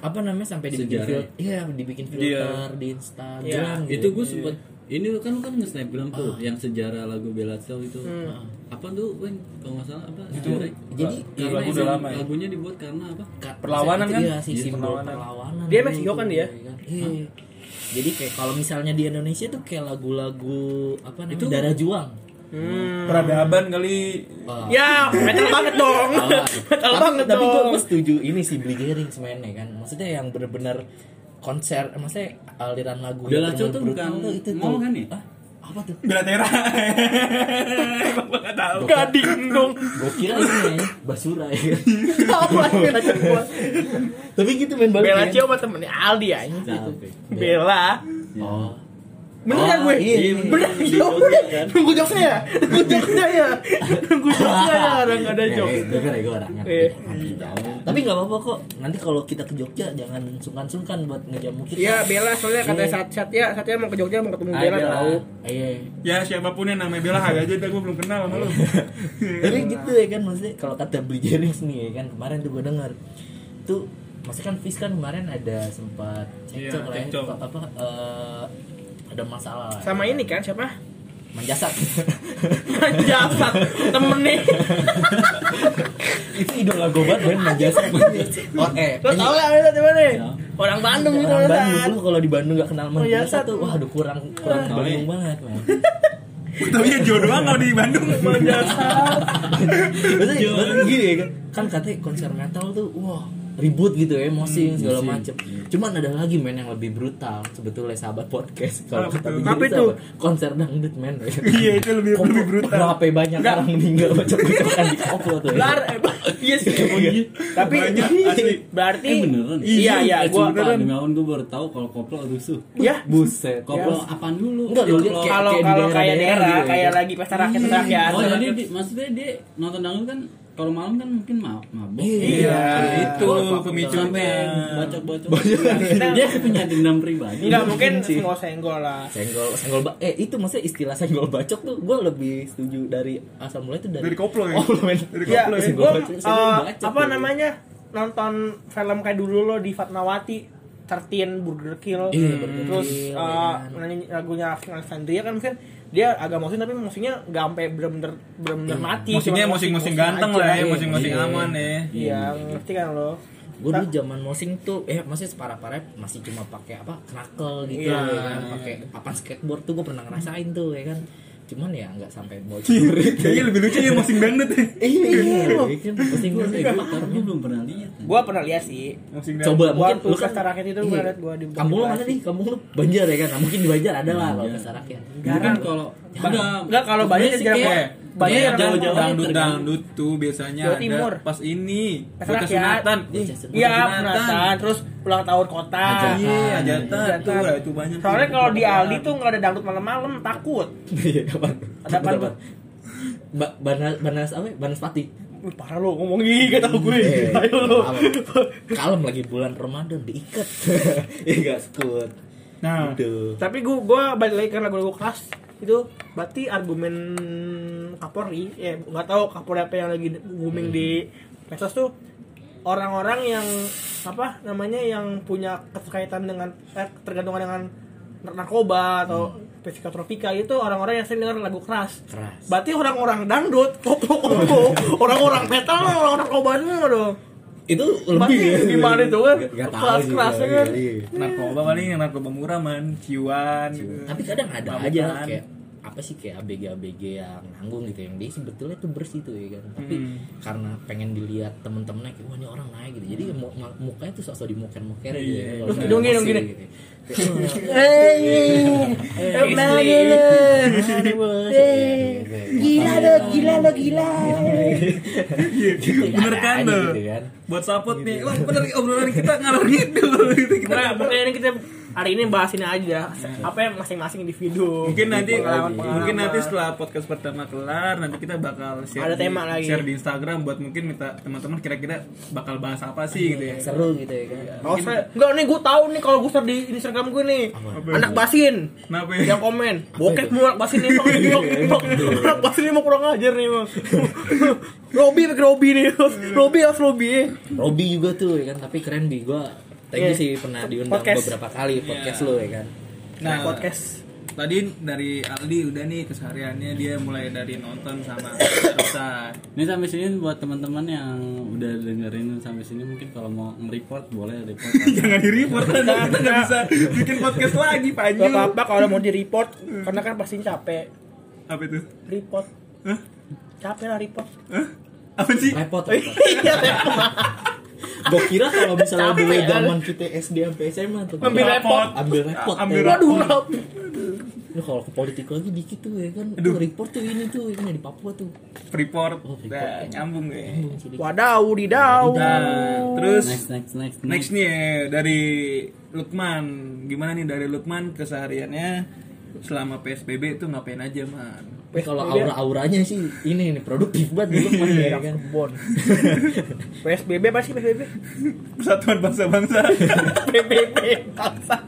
D: Apa namanya sampai dibikin
C: Sejarah. Iya.
D: filter, iya dibikin filter di Instagram gitu.
C: itu gue sempet ini lu kan lu kan nge snapgram tuh yang sejarah lagu Bella Ciao itu Ah. apa tuh Weng kalau nggak salah apa itu
D: Jadi,
A: iya, lagu udah lama ya.
C: lagunya dibuat karena apa
D: Ka-
A: Perlawanan
D: itu
A: kan?
D: Iya, sih
A: Iya,
D: simbol
A: perlawanan.
D: perlawanan.
B: Dia
D: dulu
B: Meksiko
D: tuh,
B: kan dia?
D: ya kan? Iya. Jadi kayak kalau misalnya di Indonesia tuh kayak lagu-lagu apa namanya
C: Itu-
D: darah juang.
A: Hmm. Peradaban kali.
D: Wah.
B: Ya, metal banget dong. Metal
D: Tapi-
B: banget
D: tapi
B: dong.
D: gue setuju ini si Billy Gerings mainnya kan maksudnya yang bener-bener konser eh, maksudnya aliran lagu yang
C: Bella Ciao tuh
D: bener-bener
C: bukan
D: brutal tuh,
C: mall
D: tuh.
C: kan ya?
D: Hah? apa tuh
A: Bela Tera. Emang gua nggak tahu.
B: Gading dong.
D: gue kira ini ya, basura ya
B: Apa Bella Cio gua?
D: tapi gitu main balik
B: Bella
D: ya.
B: Cio sama temennya Aldi anjing.
C: Capek.
D: Iya.
B: Bella.
D: Nah, oh
B: Bener
D: Oh,
B: kan gue?
D: iya, iya.
B: Bener.
C: Di
B: Ya
C: Jogja,
B: udah.
C: kan?
B: Nunggu jokesnya ya. Nunggu jokesnya ya. Nunggu jokesnya ya. Orang nggak ada
D: Eh,
B: jokes.
D: eh, gue kira gue orangnya
B: Iya.
D: Nanti jauh. tapi nggak apa-apa kok nanti kalau kita ke Jogja jangan sungkan-sungkan buat ngejamu kita
B: Iya Bella soalnya katanya
D: Iya.
B: saat Satya Satya mau ke Jogja mau ketemu
C: Hai,
B: Bella
C: Bella.
B: tahu.
D: iya
A: Ya siapapun yang namanya Bella kagak aja dah gua belum kenal sama lu.
D: tapi gitu ya kan maksudnya kalau kata Bli Jerings nih ya kan kemarin tuh gue denger tuh maksudnya kan Fis kan kemarin ada sempat cekcok
A: Iya,
D: lah ya
A: cekcok.
D: apa, apa eh, ada masalah lah ya.
B: Sama ini kan siapa?
D: menjasat
B: Jasad temennya.
D: itu idola gue banget men menjasat oh eh
B: Lo tau lah Bella di mana? Orang Bandung gitu
D: orang
B: Bella.
D: Bandung lu kalau di Bandung gak kenal
A: Oh, iya,
B: Menjasat.
D: menjasat tuh wah aduh kurang kurang
C: Iya.
D: Bandung banget men
A: Tapi ya jodoh doang kalau di Bandung.
D: Maksudnya
C: Iya.
D: maksudnya gini ya kan kan katanya konser metal tuh wah ribut gitu ya emosi segala
C: Hmm, emosi.
D: macem cuman ada lagi men yang lebih brutal sebetulnya sahabat podcast kalau
A: Apa
D: kata
A: tuh?
D: begini
B: Apa
D: tuh
B: itu?
D: apa? konser dangdut men
A: Iya itu lebih lebih brutal.
D: kenapa banyak orang meninggal macam bacokan di koplo tuh ya.
B: Lar, iya sih. Tapi
A: Banyak, asli.
B: berarti
C: Eh beneran.
B: Iya, iya,
C: Eh,
B: gua-
C: sumpah, demi Allah gue baru tahu kalau koplo rusuh.
B: ya
D: buset
C: Koplo apaan dulu?
D: Enggak, lu
C: Koplo-
D: lihat kayak-
B: kalau
D: di
B: kalau kayak daerah
D: daerah-daerah gitu ya,
B: kayak
D: kan?
B: lagi pesta rakyat pesta rakyat.
C: Oh jadi di- maksudnya dia nonton dangdut kan kalau malam kan mungkin ma mabok.
A: Iya, itu
C: Koplo,
A: pemicunya.
C: sampai yang bacok-bacok. dia punya dendam pribadi.
B: Enggak mungkin senggol senggol lah.
D: senggol senggol ba- eh itu maksudnya istilah senggol bacok tuh gue lebih setuju dari asal mulai tuh dari
A: Dari koplo ya.
D: koplo men
A: Dari
B: Ya,
A: koplo ya.
B: gue
D: Bacok, senggol bacok
B: eh, apa
D: tuh.
B: namanya nonton film kayak dulu lo di Fatmawati 13 Burger Kill Hmm.
D: Iya, Burger
B: terus eh,
D: Kill, iya.
B: menyanyi lagunya King Alexandria kan mungkin dia agak emosi tapi emosinya nggak sampai bener-bener bener-bener mati
A: Musiknya
B: Cuma
A: musim-musim
B: emosi-emosi
A: ganteng
B: aja. gitu.
A: lah ya,
D: Iya,
A: musim-musim
D: iya.
A: aman ya.
B: iya ngerti kan lo
D: gue dulu zaman mosing tuh eh masih separah parah masih cuma pakai apa knuckle gitu
B: Iya.
D: ya kan pakai papan skateboard tuh gue pernah ngerasain tuh ya kan cuman ya nggak sampai
B: Iya.
D: bocor
A: Kayaknya lebih lucu ya mosing dangdut ya.
D: iya kan mosing
C: Gue
D: mosing
C: gue belum pernah lihat.
B: gue pernah lihat sih
A: Mosing dangdut.
D: coba mungkin kan- iya.
B: Waktu pesta iya. rakyat itu gua liat gua di-
D: kampung lu
B: di-
D: mana nih kampung lu Banjar ya kan nah, mungkin di Banjar ada lah kalau
C: Banjar.
D: pesta rakyat
C: Jarang kalau
B: Enggak, kalau banyak
C: Sebenarnya sih
B: jarang.
C: kayak-
B: Banyak
C: kayak
B: jarang.
C: jauh-jauh
A: dangdut
C: tergantung.
A: dangdut tuh biasanya
B: Jawa
A: ada
B: Timur. ya.
A: pas ini
B: Pas
A: bocah
B: rakyat.
A: sunatan Ih,
D: Bocah sunatan.
A: bocah
B: Iya, penasaran. Terus ulang tahun kota.
D: Ajatan.
A: iya ajatan
B: Ajatan.
A: tuh lah, itu banyak
B: Kan. Soalnya
A: tuh.
B: kalau di Aldi tuh nggak ada dangdut malam-malam, takut.
D: iya kapan
B: Ada apa,
D: Kapan? Ba- banas banas apa ya? banas pati
B: Wih, parah lo ngomong gini gak tau gue.
D: Eh,
B: Ayo lo.
D: apa? kalem lagi bulan Ramadan diikat ya gak sekut
A: nah
D: Aduh.
B: Tapi gue gue balik lagi ke lagu-lagu keras itu berarti argumen Kapolri ya nggak tahu Kapolri apa yang lagi booming di medsos tuh orang-orang yang apa namanya yang punya keterkaitan dengan eh, ketergantungan dengan narkoba atau psikotropika itu orang-orang yang sering dengar lagu keras.
D: Keras.
B: Berarti orang-orang dangdut, koplo-koplo, orang-orang metal, orang-orang narkoba semua dong.
D: itu
B: Berarti
D: lebih ya.
B: gimana itu kan?
D: Gak- gak tahu sih,
B: Keras-kerasnya
D: iya,
B: kan.
D: iya, iya.
A: narkoba paling yang narkoba murah man ciuan gitu.
D: tapi kadang ada
A: Mabukan.
D: aja kayak apa sih kayak ABG ABG yang nanggung gitu yang dia sebetulnya tuh bersih tuh ya kan tapi
A: Hmm.
D: karena pengen dilihat temen-temennya kayak wah ini orang naik gitu jadi mu- mu- mukanya tuh sosok dimuker-muker gitu
A: Iya.
D: ya
A: Lu
D: kalau misalnya
B: hidungnya
D: emosi
B: dong gini.
D: gitu. Kayak,
B: Eh,
D: "Oh, mana bos?" Iya, gitu.
A: bener
D: Ada
A: kan
D: aja
A: tuh
B: ya.
D: gitu kan.
A: buat support nih
B: Gitu.
A: wah bener nih, obrolan kita ngalor gitu gitu kita
B: Nah, pokoknya ini kita hari ini bahas ini aja. Apa yang masing-masing individu.
A: mungkin nanti
B: Pengalaman-pengalaman.
A: mungkin nanti setelah podcast pertama kelar nanti kita bakal share
B: Ada
A: di,
B: tema lagi.
A: share di Instagram buat mungkin minta teman-teman kira-kira bakal bahas apa sih gitu ya
D: seru gitu ya kan
B: Oh, saya, enggak nih gue tahu nih kalau gue share di Instagram gue nih. Anak basin
A: kenapa ya?
B: yang komen bokep mulu anak basin nih bang. Bang, anak basin nih mau kurang ajar nih bang Robi pakai Robi nih Robi harus Robi
D: Robby juga tuh ya kan tapi keren di gua thank you
B: Iya.
D: sih pernah diundang
B: Podcast.
D: beberapa kali podcast
A: Iya.
D: lo ya kan
B: nah podcast
A: Tadi dari Aldi udah nih kesehariannya dia mulai dari nonton sama Rosa.
C: Ini sampai sini buat teman-teman yang udah dengerin sampai sini mungkin kalau mau nge-report boleh report.
A: Jangan di report kan kita nggak bisa bikin podcast lagi
B: gak
A: Panju.
B: apa-apa kalau mau di report karena kan pasti capek
A: Apa itu?
B: report
A: Hah?
B: capek lah report
A: Hah? Apa sih?
D: repot repot.
B: iya
D: Gua kira kalau misalnya
B: Capek,
D: dulu
B: kan?
D: zaman kita SD sampai SMA tuh
B: Ambil repot.
D: ambil repot
A: Ambil
D: eh.
A: repot.
B: waduh rap
D: Ini kalau ke politik lagi dikit tuh ya kan.
A: Aduh.
D: Tuh, report tuh ini tuh ini di Papua tuh.
A: Freeport,
D: Oh, Freeport.
A: Dah, nyambung ya.
D: Nyambung sedikit.
B: Wadaw, didau.
A: Nah, terus
C: Next next next.
A: next nih ya, dari Lukman, gimana nih dari Lukman kesehariannya selama PSBB itu ngapain aja man?
D: Tapi kalau aura-auranya sih ini ini produktif banget dulu mah ya kan.
B: Bon. PSBB apa sih PSBB?
A: Persatuan Bangsa-Bangsa
B: PSBB. Bangsa.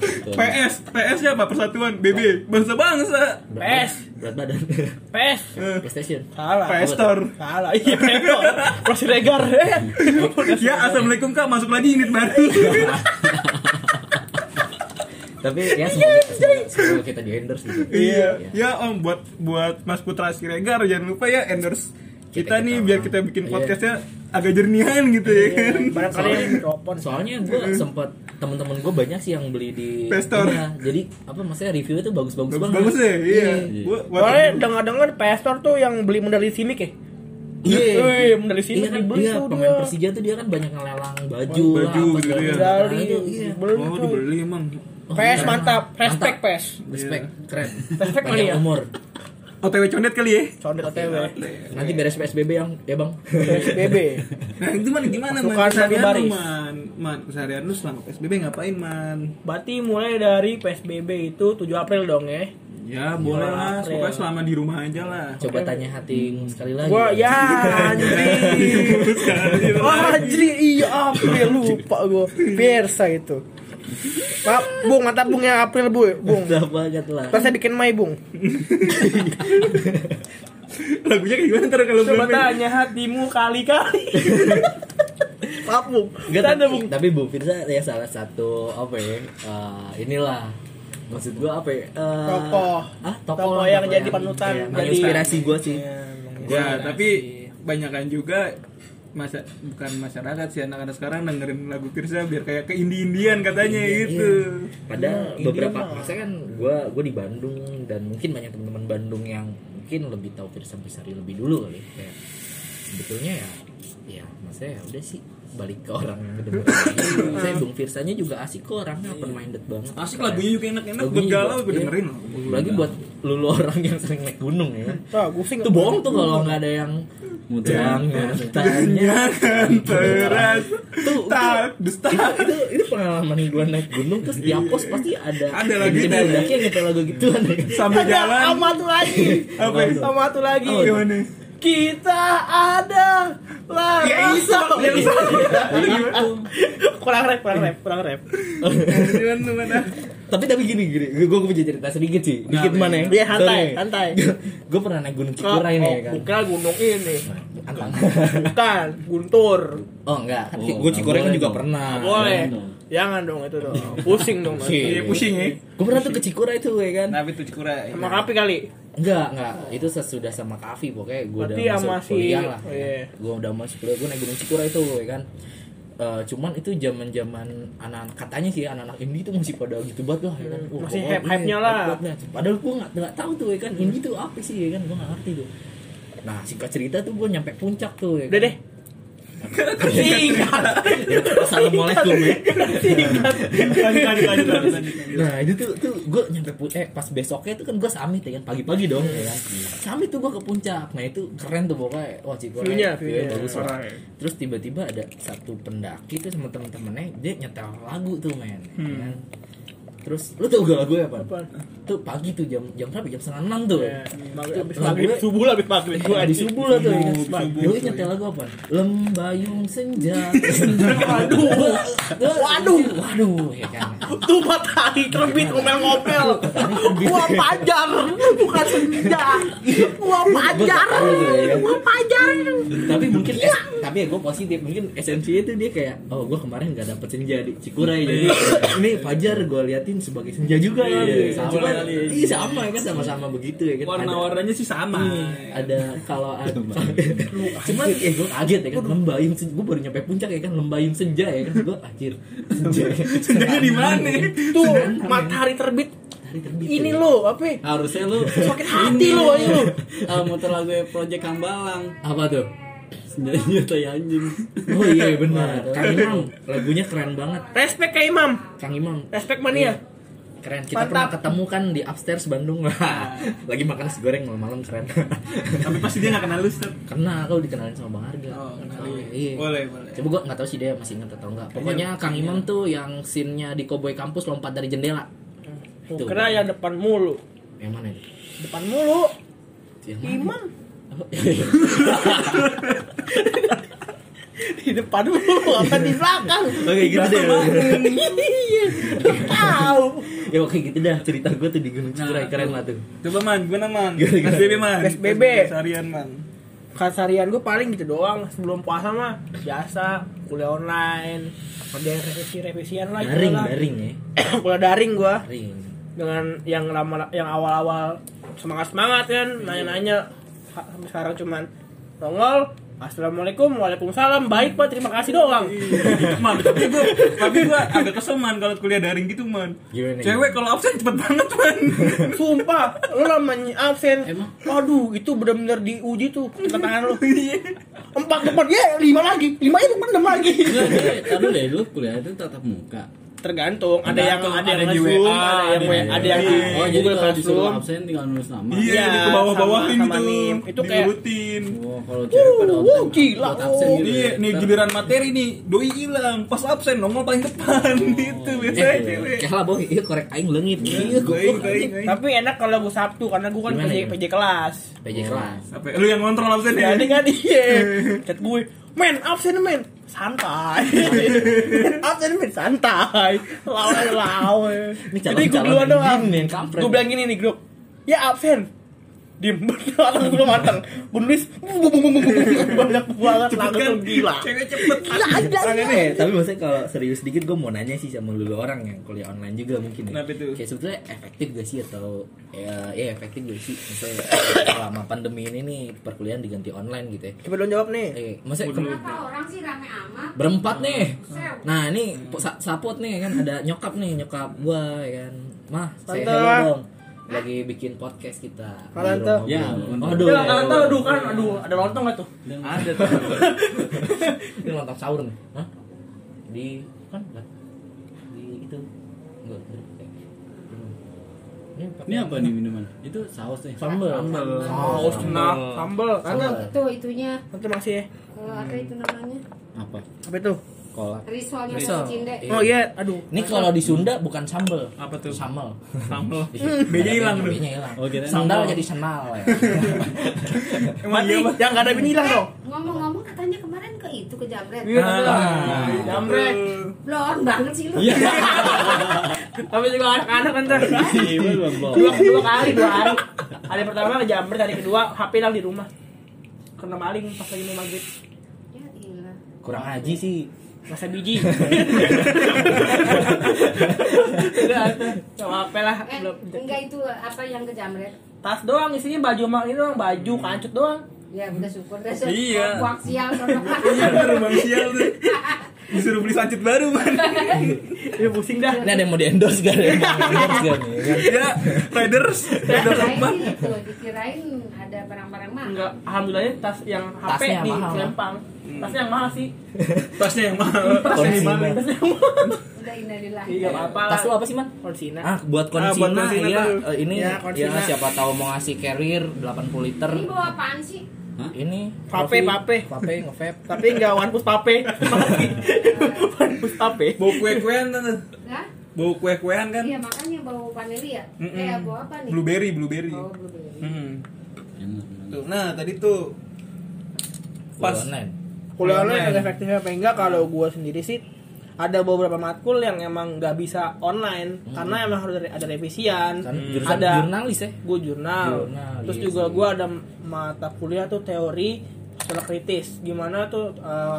D: Tuh,
A: PS, PS nya apa? Persatuan BB, Bangsa-Bangsa
D: berat-
B: PS.
D: berat badan.
B: PS.
D: PlayStation.
B: Salah.
A: PS Store
B: Salah. Iya, Rektor. Prosiregar.
A: Ya, Assalamualaikum kak, masuk lagi unit baru
D: Tapi ya semoga, semoga, semoga kita di endorse gitu.
A: Iya, ya om buat buat Mas Putra Siregar jangan lupa ya endorse kita,
D: Kita-
A: nih
D: kita-
A: biar kita bikin
D: Iya.
A: podcastnya agak jernihan gitu ya kan.
B: Barangkali
D: Soalnya-
B: mikrofon.
D: Iya. Soalnya gue sempet temen-temen gue banyak sih yang beli di
A: Pestor.
D: Iya, jadi apa maksudnya reviewnya tuh bagus-bagus banget.
A: Bagus ya, iya. Gua, gua-
B: Soalnya dengar-dengar PS Store tuh yang beli medali ya? sini ke.
D: Iya.
B: Wih, medali sini
D: Iya kan
B: dibeli
D: dia
B: tuh
D: pemain
B: dia.
D: Persija tuh dia kan banyak ngelelang baju,
A: Baju
D: lah, apa
A: gitu
D: segala
A: ya.
D: macam. Nah,
B: Dari
D: itu, iya.
B: beli
A: oh
B: tuh.
A: dibeli emang.
D: Oh,
B: PS
D: iya.
B: mantap, respect
D: Mantap.
B: PS.
D: Respect, keren.
B: Iya. Respect kali
D: Panjang
B: ya.
D: umur.
A: OTW condet kali ya.
B: Condet OTW.
D: Nanti beres PSBB yang ya bang.
B: PSBB.
A: Nah itu man gimana man
B: Pasukan
A: keseharian
B: baris.
A: lu man Man keseharian lu selama PSBB ngapain man
B: Berarti mulai dari PSBB itu 7 April dong ya.
A: Ya boleh lah
B: April.
A: Pokoknya selama di rumah aja lah
D: Coba tanya hati sekali lagi.
B: Gua ya
A: Iya.
B: anjir. Wah, anjir iya April lupa gua. Persa itu. Pak, Bung, mantap Bung ya April, Bu. Bung.
D: Udah banget lah.
B: Terus saya bikin mai, Bung.
A: Lagunya kayak gimana ntar kalau
B: Coba
A: belum main?
B: tanya hatimu kali-kali. Maaf, Bung.
D: Enggak,
B: Tanda,
D: tapi,
B: Bung.
D: tapi Bu Firza ya salah satu apa ya? eh, inilah maksud gua apa ya? eh,
B: Tokoh.
D: ah, tokoh,
B: Tokoh
D: lah,
B: yang
D: tokoh
B: jadi panutan,
D: iya,
B: jadi- Iya,
D: inspirasi gua sih.
A: Ya tapi Banyakan juga masa bukan masyarakat sih anak-anak sekarang dengerin lagu Pirsa biar kayak ke Indian
D: Iya,
A: katanya gitu.
D: Padahal
A: iya,
D: beberapa masa kan gua gua di Bandung dan mungkin banyak teman-teman Bandung yang mungkin lebih tahu Firza Besari lebih dulu kali. Kayak sebetulnya ya ya maksudnya ya udah sih balik ke orang yang kedengeran. Saya Bung Firsanya juga asik kok orangnya open minded banget.
A: Iya. Asik lagunya juga enak-enak
D: Lagunya
A: buat galau
D: juga,
A: gue
D: iya.
A: dengerin Iya. loh.
D: Lagi buat lulu orang yang sering naik gunung ya.
B: Wah, gusing.
D: Itu bohong tuh kalau nggak ada yang Iya.
C: Mudah.
D: jangan tanya.
A: Kan teras
D: Iya. Tuh,
A: tak dusta.
D: Itu, itu, itu pengalaman gue naik gunung terus di pos pasti ada
A: Ada lagu itu.
D: tim mendaki yang nyetel lagu gituan ya.
A: Sambil jalan
B: Sama tuh lagi.
A: Apa itu?
B: Sama tuh lagi.
A: Oh, gimana?
B: Kita ada lah.
A: Ya, iso, ya, iso.
D: Iya.
B: kurang rap, kurang rap, kurang rap.
A: Gimana mana?
D: tapi tapi gini gini gue punya cerita sedikit sih dikit
A: Nah,
D: mana ya
B: Iya, hantai, hantai.
D: gue pernah naik gunung Cikura ini
B: oh,
D: ya kan
B: gua kira gunung ini.
D: Antang.
B: Bukan, Guntur.
D: oh enggak kan
C: Oh,
D: gue Cikura kan
C: nggak boleh
D: juga
C: dong.
D: pernah
B: Boleh.
C: dong.
B: Jangan dong itu dong. Pusing dong. Mas.
D: Pusing.
A: Iya pusing ya.
D: gue pernah tuh ke Cikura itu ya kan
A: Nabi tuh cikurai.
B: Sama kapi kali.
D: Enggak, enggak. Itu sesudah sama Kavi pokoknya gue udah
B: Berarti
D: masuk
B: sama si-
D: kuliah lah.
B: oh, iya.
D: Gue udah masuk kuliah, gue naik Gunung Cikura itu ya kan. Eh, cuman itu zaman-zaman anak katanya sih anak-anak indie itu masih pada gitu banget lah ya kan. Wah,
B: Hmm, Masih
D: pokoknya
B: hype-hype-nya lah.
D: hype banget. Padahal gue nggak nggak tahu tuh ya kan indie tuh apa sih ya kan gue nggak ngerti tuh. Nah singkat cerita tuh gue nyampe puncak tuh. Ya kan.
B: Udah deh. Singkat.
D: Ya, Assalamualaikum Iya. ya.
B: Singkat.
A: Lanjut lanjut lanjut lanjut, lanjut.
D: Nah itu tuh, tuh gue nyampe pu- eh pas besoknya tuh kan gue summit ya kan pagi-pagi dong ya kan.
B: Iya.
D: Summit tuh gue ke puncak. Nah itu keren tuh pokoknya. Wah Cikure.
B: View-nya,
D: view-nya
B: view-nya.
D: bagus lah.
A: Alright.
D: Terus tiba-tiba ada satu pendaki tuh sama temen-temennya dia nyetel lagu tuh men. ya kan. Terus lu tau gak lagu apa?
B: Apaan?
D: Tuh pagi tuh jam jam berapa? Jam setengah enam tuh.
B: Ya,
D: Tuh,
B: Abis
D: lagu-
B: maghrib subuh lah abis maghrib
D: Eh,
B: gua
D: habis
B: anjing.
D: subuh lah tuh ya.
A: Subuh,
D: kan.
A: subuh.
D: Dia nyetel lagu apa? Lembayung senja. senja.
B: Waduh.
D: Waduh. Waduh ya kan.
B: Tuh matahari terbit ngomel-ngomel. Gua pajar, bukan senja. Gua pajar, gua pajar.
D: tapi mungkin es- tapi ya gue positif mungkin esensinya itu dia kayak oh gue kemarin gak dapet senja di Cikuray jadi ini Fajar gue liatin sebagai senja juga
A: Iya,
D: kali.
A: iya,
D: sama
A: boleh kali.
D: iya sama ya kan sama-sama begitu ya kan ada,
A: Warna-warnanya sih sama.
D: ada kalau ada cuman ya gue kaget ya kan lembayung senja gue baru nyampe puncak ya kan lembayung senja ya kan gue anjir senja
A: Senjanya di mana?
B: Tuh matahari terbit.
D: Matahari terbit
B: Ini
D: ya.
B: lo apa?
C: Harusnya lu
B: Sakit hati lo ini lo.
C: eh, muter lagu Project Hambalang.
D: apa tuh
C: Senjanya tai anjing.
D: oh iya benar Kang Imam lagunya keren banget
B: Respect Kak Imam.
D: Kang Imam
A: ya?
D: Iya,
B: Respect mania.
D: keren kita pernah ketemu kan di upstairs Bandung Wah, lagi makan nasi goreng malam-malam keren
A: Tapi pasti dia nggak kenal lu, Step.
D: kenal kau dikenalin sama bang Arga
A: Oh, kenal.
D: iya.
A: Boleh, boleh. iya.
D: coba gua nggak tahu sih dia masih inget atau enggak pokoknya Kang Imam tuh yang sinnya di Koboi Kampus lompat dari jendela Tuh.
B: Kena yang depan mulu.
D: yang mana itu
B: Depan mulu.
D: yang mana? Oh, iya,
B: Imam di depan mulu apa di belakang?
D: Oke gitu deh.
B: Iya. Tahu.
D: ya oke gitu dah cerita gue tuh di
A: Nah,
D: Gunung Cikuray keren lah tuh.
A: Coba man, gimana man?
D: Gimana, gimana?
A: Mas Bebe man.
B: Mas Bebe.
A: Seharian man.
B: Kasarian gue paling gitu doang sebelum puasa mah biasa kuliah online kerja revisi revisian lah gitu
D: Daring
B: lah.
D: daring ya.
B: kuliah daring gue
D: Daring.
A: Nah,
B: dengan yang lama yang awal-awal semangat semangat kan nanya-nanya Ha- sampai sekarang cuman nongol assalamualaikum waalaikumsalam baik pak terima kasih doang
D: Iya.
A: man, tapi gua tapi gua agak kesel man kalau kuliah daring gitu man.
D: Gimana?
A: Cewek kalau absen cepet banget man.
B: sumpah lu namanya absen
D: Emang?
B: aduh itu bener-bener diuji tuh tangan lu
D: Iya.
B: empat depan ya lima lagi lima itu enam lagi
C: Enggak, enggak, Tadi deh lu kuliah itu tatap muka.
B: tergantung ada yang
C: Tergantung,
B: ada yang
A: ada di
B: Zoom,
A: WA,
B: ada yang
A: ada
B: ada yang
C: Oh, jadi
B: Google
C: kalau disuruh
B: Classroom
C: absen tinggal nulis nama.
A: Iya,
B: Iya,
A: di bawah-bawahin
B: sama-
A: gitu.
B: sama nim. Itu kayak-
A: Diurutin.
C: Oh, kalau cewek pada
B: Wuh,
C: online,
B: gila,
C: buat absen
B: oh.
C: gitu ya.
A: Iya, nih giliran materi nih, doi hilang, pas absen nongol paling depan gitu biasanya cewek.
D: Eh, Kayak lah boy, iya korek aing leungit.
A: Nah,
D: Iya
A: Baik,
D: goblok.
A: baik, baik.
B: tapi enak kalau gue sabtu karena gue kan
D: Gimana,
B: PJ,
D: gimana?
B: PJ kelas
D: PJ kelas.
A: Apa lu yang ngontrol absen ya?
B: jadi kan iya chat gue men absen men santai absen men santai lawan lawan jadi gue duluan doang
D: Nih, kampret.
B: gue bilang gini nih grup ya absen diem belakang belum matang gue nulis bum, bum, bum, bum, bum. banyak banget
A: Cepet kan?
B: langsung gila Iya,
A: Cewek cepet.
B: gila gila gila.
D: Eh, tapi maksudnya kalau serius dikit gue mau nanya sih sama lu orang yang kuliah online juga mungkin ya.
A: Kenapa itu?
D: Kayak sebetulnya efektif gak sih atau ya, ya efektif gak sih misalnya selama pandemi ini nih perkuliahan diganti online gitu ya.
B: coba dong jawab nih
D: Eh, maksudnya ke-
E: Kenapa orang sih rame amat?
D: berempat nih.
E: Sew.
D: Nah ini po- sa- sapot nih kan ada nyokap nih nyokap gua ya kan. Mah
B: Tante.
D: saya hello dong lagi bikin podcast kita.
B: Halo,
D: Di
B: Tante.
D: rumah
C: Ya,
D: gua.
C: bener.
D: Aduh.
B: Ya, kalian tahu aduh kan aduh ada lontong gak tuh
A: Iya.
C: Dan Ada tuh.
D: Ini lontong sahur nih. Hah? Di kan enggak. Di itu. Enggak. enggak. Ini pakai
C: Ini apa nih minuman? Itu saus nih.
D: Sambal. Oh,
C: Sambal.
A: Oh,
C: Oh,
B: saus nah sambal karena
E: Itu itunya
B: nanti masih ya
E: kalau apa itu namanya?
C: Apa?
B: apa itu
D: kolak.
E: Risolnya
D: Risol.
E: Risol. cinde.
D: Iya.
B: oh iya aduh
D: Ini kalau di Sunda bukan sambel.
A: Apa tuh?
D: Sambel.
A: Sambel.
B: Iya.
D: Bedanya
A: hilang tuh.
D: Bedanya hilang.
C: Oh, kirain
D: Sandal
C: sambal.
D: jadi senal ya.
A: Emang
B: mati
A: iya Pak?
B: yang gak ada bini hilang dong
E: Ngomong-ngomong katanya kemarin ke itu ke Jamret.
B: Iya,
D: Ah.
B: jamret.
A: Iya.
E: Blon banget sih lu. Ya,
C: Iya.
B: Tapi juga anak-anak kan Ter.
A: Iya.
C: Ih, belum, belum.
B: dua, dua kali, dua hari. Hari pertama ke jamret, hari kedua HP hilang di rumah. Kena maling pas lagi mau maghrib.
E: Ya gila.
D: Kurang aji sih.
B: Masa biji. Udah, tuh. sama HP lah.
E: Eh,
B: Belum.
E: enggak itu apa yang ke Jamret?
B: Tas doang isinya baju mak ini doang, baju kancut doang.
E: Ya udah syukur deh. syukur.
A: Iya.
E: Kuak sial sama.
A: Iya baru bang sial tuh. Disuruh beli sancit baru man.
B: Ya pusing dah.
D: Ini ada yang mau di endorse gak? Ada yang mau di endorse gak nih? ya kan?
A: Ya, riders,
B: Iya,
A: riders apa?
E: Dikirain itu, dikirain ada barang-barang mahal.
B: Enggak, alhamdulillahnya tas yang HP
D: Tasnya
B: di
D: mahal.
B: Lempang. Tasnya yang mahal sih.
A: Tasnya yang mahal. Tasnya yang
B: Eh.
A: mahal.
D: Konsina.
E: Udah innalillahi.
B: Iya, nggak apa-apa.
D: Tas lu apa sih, Man?
B: Konsina.
D: Ah, buat
A: Ah, buat
D: konsina,
A: konsina
D: ya,
A: tuh.
D: eh, ini
B: Ya,
D: ya,
B: konsina.
D: siapa tahu mau ngasih carrier 80 liter.
E: Ini bawa apaan sih?
D: Ini
B: Vape,
D: coffee.
B: vape.
D: vape, ngevape.
B: Tapi enggak one push pape. one push pape.
A: Bau kue-kuean kan?
E: Hah?
A: Bau kue-kuean kan?
E: Iya makanya bau vanili ya?
A: Mm-mm.
E: Eh bau apa nih?
A: Blueberry, blueberry.
E: Oh, blueberry.
A: Mm.
C: Enak, enak.
A: Tuh, nah tadi tuh
D: Pas
A: Pas.
D: online.
B: kuliah
A: Online.
B: online yang efektifnya apa enggak kalau gue sendiri sih ada beberapa matkul yang emang nggak bisa online
D: Hmm.
B: karena emang harus ada- ada revisian
D: Kan jurusan
B: ada
D: jurnalis ya.
B: gue jurnal
D: Jurnalis.
B: terus juga gue ada mata kuliah tuh teori secara kritis gimana tuh eh,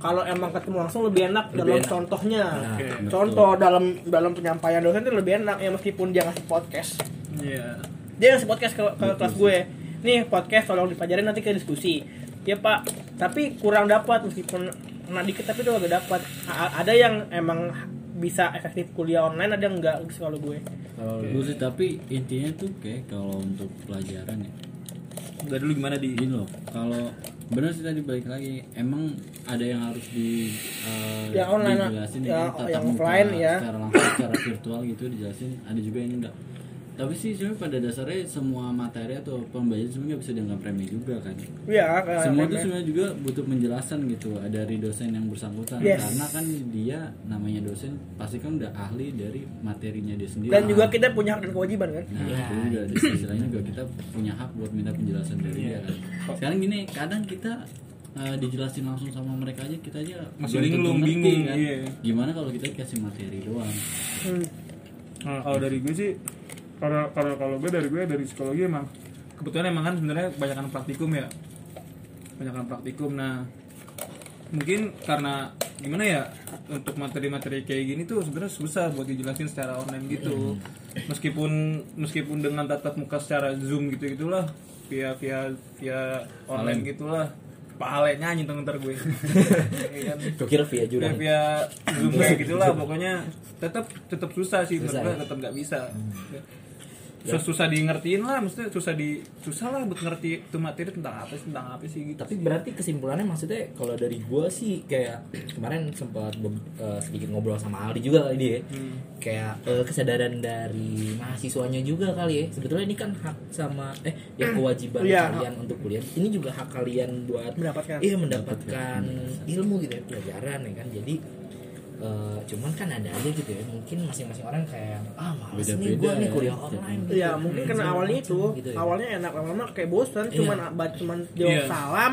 B: kalau emang ketemu langsung lebih enak
D: Lebih
B: dalam
D: enak. Nah,
B: contohnya
D: Oke.
B: contoh dalam dalam penyampaian dosen tuh lebih enak ya meskipun dia ngasih podcast
A: Iya.
B: dia ngasih podcast ke, ke kelas gue nih podcast tolong dipelajarin nanti ke diskusi ya pak tapi kurang dapat meskipun nah dikit tapi itu agak dapat A- ada yang emang bisa efektif kuliah online ada yang enggak kalau gue
C: Kalau gue sih tapi intinya tuh kayak kalau untuk pelajaran ya
A: Dari dulu gimana di
C: gini loh kalau bener sih tadi balik lagi emang ada yang harus di eh,
B: Yang online,
C: dijelasin
B: ya,
C: kan, tatap
B: yang
C: muka,
B: offline, ya.
C: secara langsung secara virtual gitu dijelasin ada juga yang enggak tapi sih sebenarnya pada dasarnya semua materi atau pembelajaran sebenarnya nggak bisa dianggap remeh juga kan
B: Iya, kayak
C: semua itu
B: remeh.
C: sebenarnya juga butuh penjelasan gitu dari dosen yang bersangkutan
B: Yes.
C: karena kan dia namanya dosen pasti kan udah ahli dari materinya dia sendiri Ah.
B: Dan juga kita punya hak dan kewajiban kan.
C: Nah,
A: Iya,
C: itu juga di sisi lain juga kita punya hak buat minta penjelasan dari dia. kan.
A: Iya.
C: Sekarang gini, kadang kita eh, dijelasin langsung sama mereka aja kita aja
A: Masih
C: belum tentu
A: linglung,
C: ngerti, kan.
A: bingung, iya.
C: Gimana kalau kita kasih materi doang?
B: Hmm.
A: Nah, kalau dari gue sih kalau kalau kalau gue dari gue dari psikologi emang kebetulan emang kan sebenarnya kebanyakan praktikum ya kebanyakan praktikum nah mungkin karena gimana ya untuk materi-materi kayak gini tuh sebenarnya susah buat dijelasin secara online gitu meskipun meskipun dengan tatap muka secara zoom gitu gitulah via via via online gitulah pale nyanyi tuh ntar gue Iya kan?
D: Gue kira via
A: Udah
D: jurang.
A: via zoom kayak gitulah gitu pokoknya tetap tetap susah sih menurut gue tetap nggak bisa susah, susah di ngertiin lah maksudnya susah di susah lah buat ngerti itu materi tentang apa sih tentang apa sih gitu
D: Tapi berarti kesimpulannya maksudnya kalau dari gua sih kayak kemarin sempat be- eh, sedikit ngobrol sama Aldi juga kali dia. ya.
B: Hmm.
D: Kayak eh, kesadaran dari mahasiswanya juga kali ya. Sebetulnya ini kan hak sama eh ya kewajiban
B: Iya.
D: kalian untuk kuliah. Ini juga hak kalian buat
B: Mendapatkan.
D: iya mendapatkan
C: Iya,
D: ilmu gitu ya, pelajaran ya kan. Jadi eh, cuman kan ada aja gitu ya mungkin masing-masing orang kayak ah males nih
C: Beda-beda
D: gua nih
C: ya.
D: kuliah online gitu.
B: Iya, mungkin karena
D: Segala
B: awalnya
D: macam
B: itu,
D: gitu ya.
B: awalnya enak lama-lama kayak bosan,
D: Iya.
B: cuman abad cuman jawab
A: Iya.
B: salam,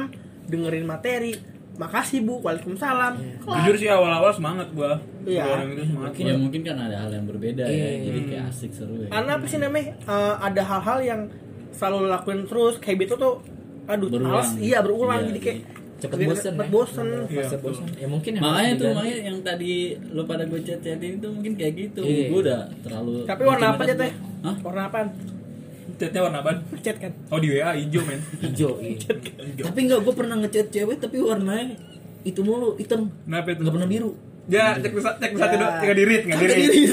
B: dengerin materi. Makasih Bu, Waalaikumsalam.
A: jujur sih awal-awal semangat gua
B: Iya.
A: Gua orang itu semangat
C: Mungkin, ya, mungkin kan ada hal yang berbeda ya,
D: Iya.
C: jadi kayak asik seru ya.
B: Karena apa sih namanya? eh, ada hal-hal yang selalu lo lakuin terus, kayak gitu tuh aduh,
C: Berulang.
B: males. Iya, berulang
C: Iya,
B: jadi kayak
D: cepet
B: Jadi
D: bosen
B: cepet
D: ya.
B: bosen.
D: Iya. Fase bosen. ya mungkin ya
C: Makanya
D: harus
A: Iya.
C: tuh
D: diganti.
C: makanya yang tadi lo pada gue chat chatin itu mungkin kayak gitu.
D: Iya.
C: Gue udah terlalu
B: Tapi warna apa aja
C: makin
B: teh?
C: atas gua. Hah?
B: Warna apa?
A: chatnya warna apa
B: Chat kan.
A: oh di wa hijau men
D: hijau iya. tapi nggak gue pernah ngechat cewek tapi warnanya itu mulu hitam
A: kenapa itu
D: nggak pernah biru
A: ya cek bisa cek satu
B: Ya.
A: dua tiga dirit nggak
B: Chat
A: dirit
B: ini.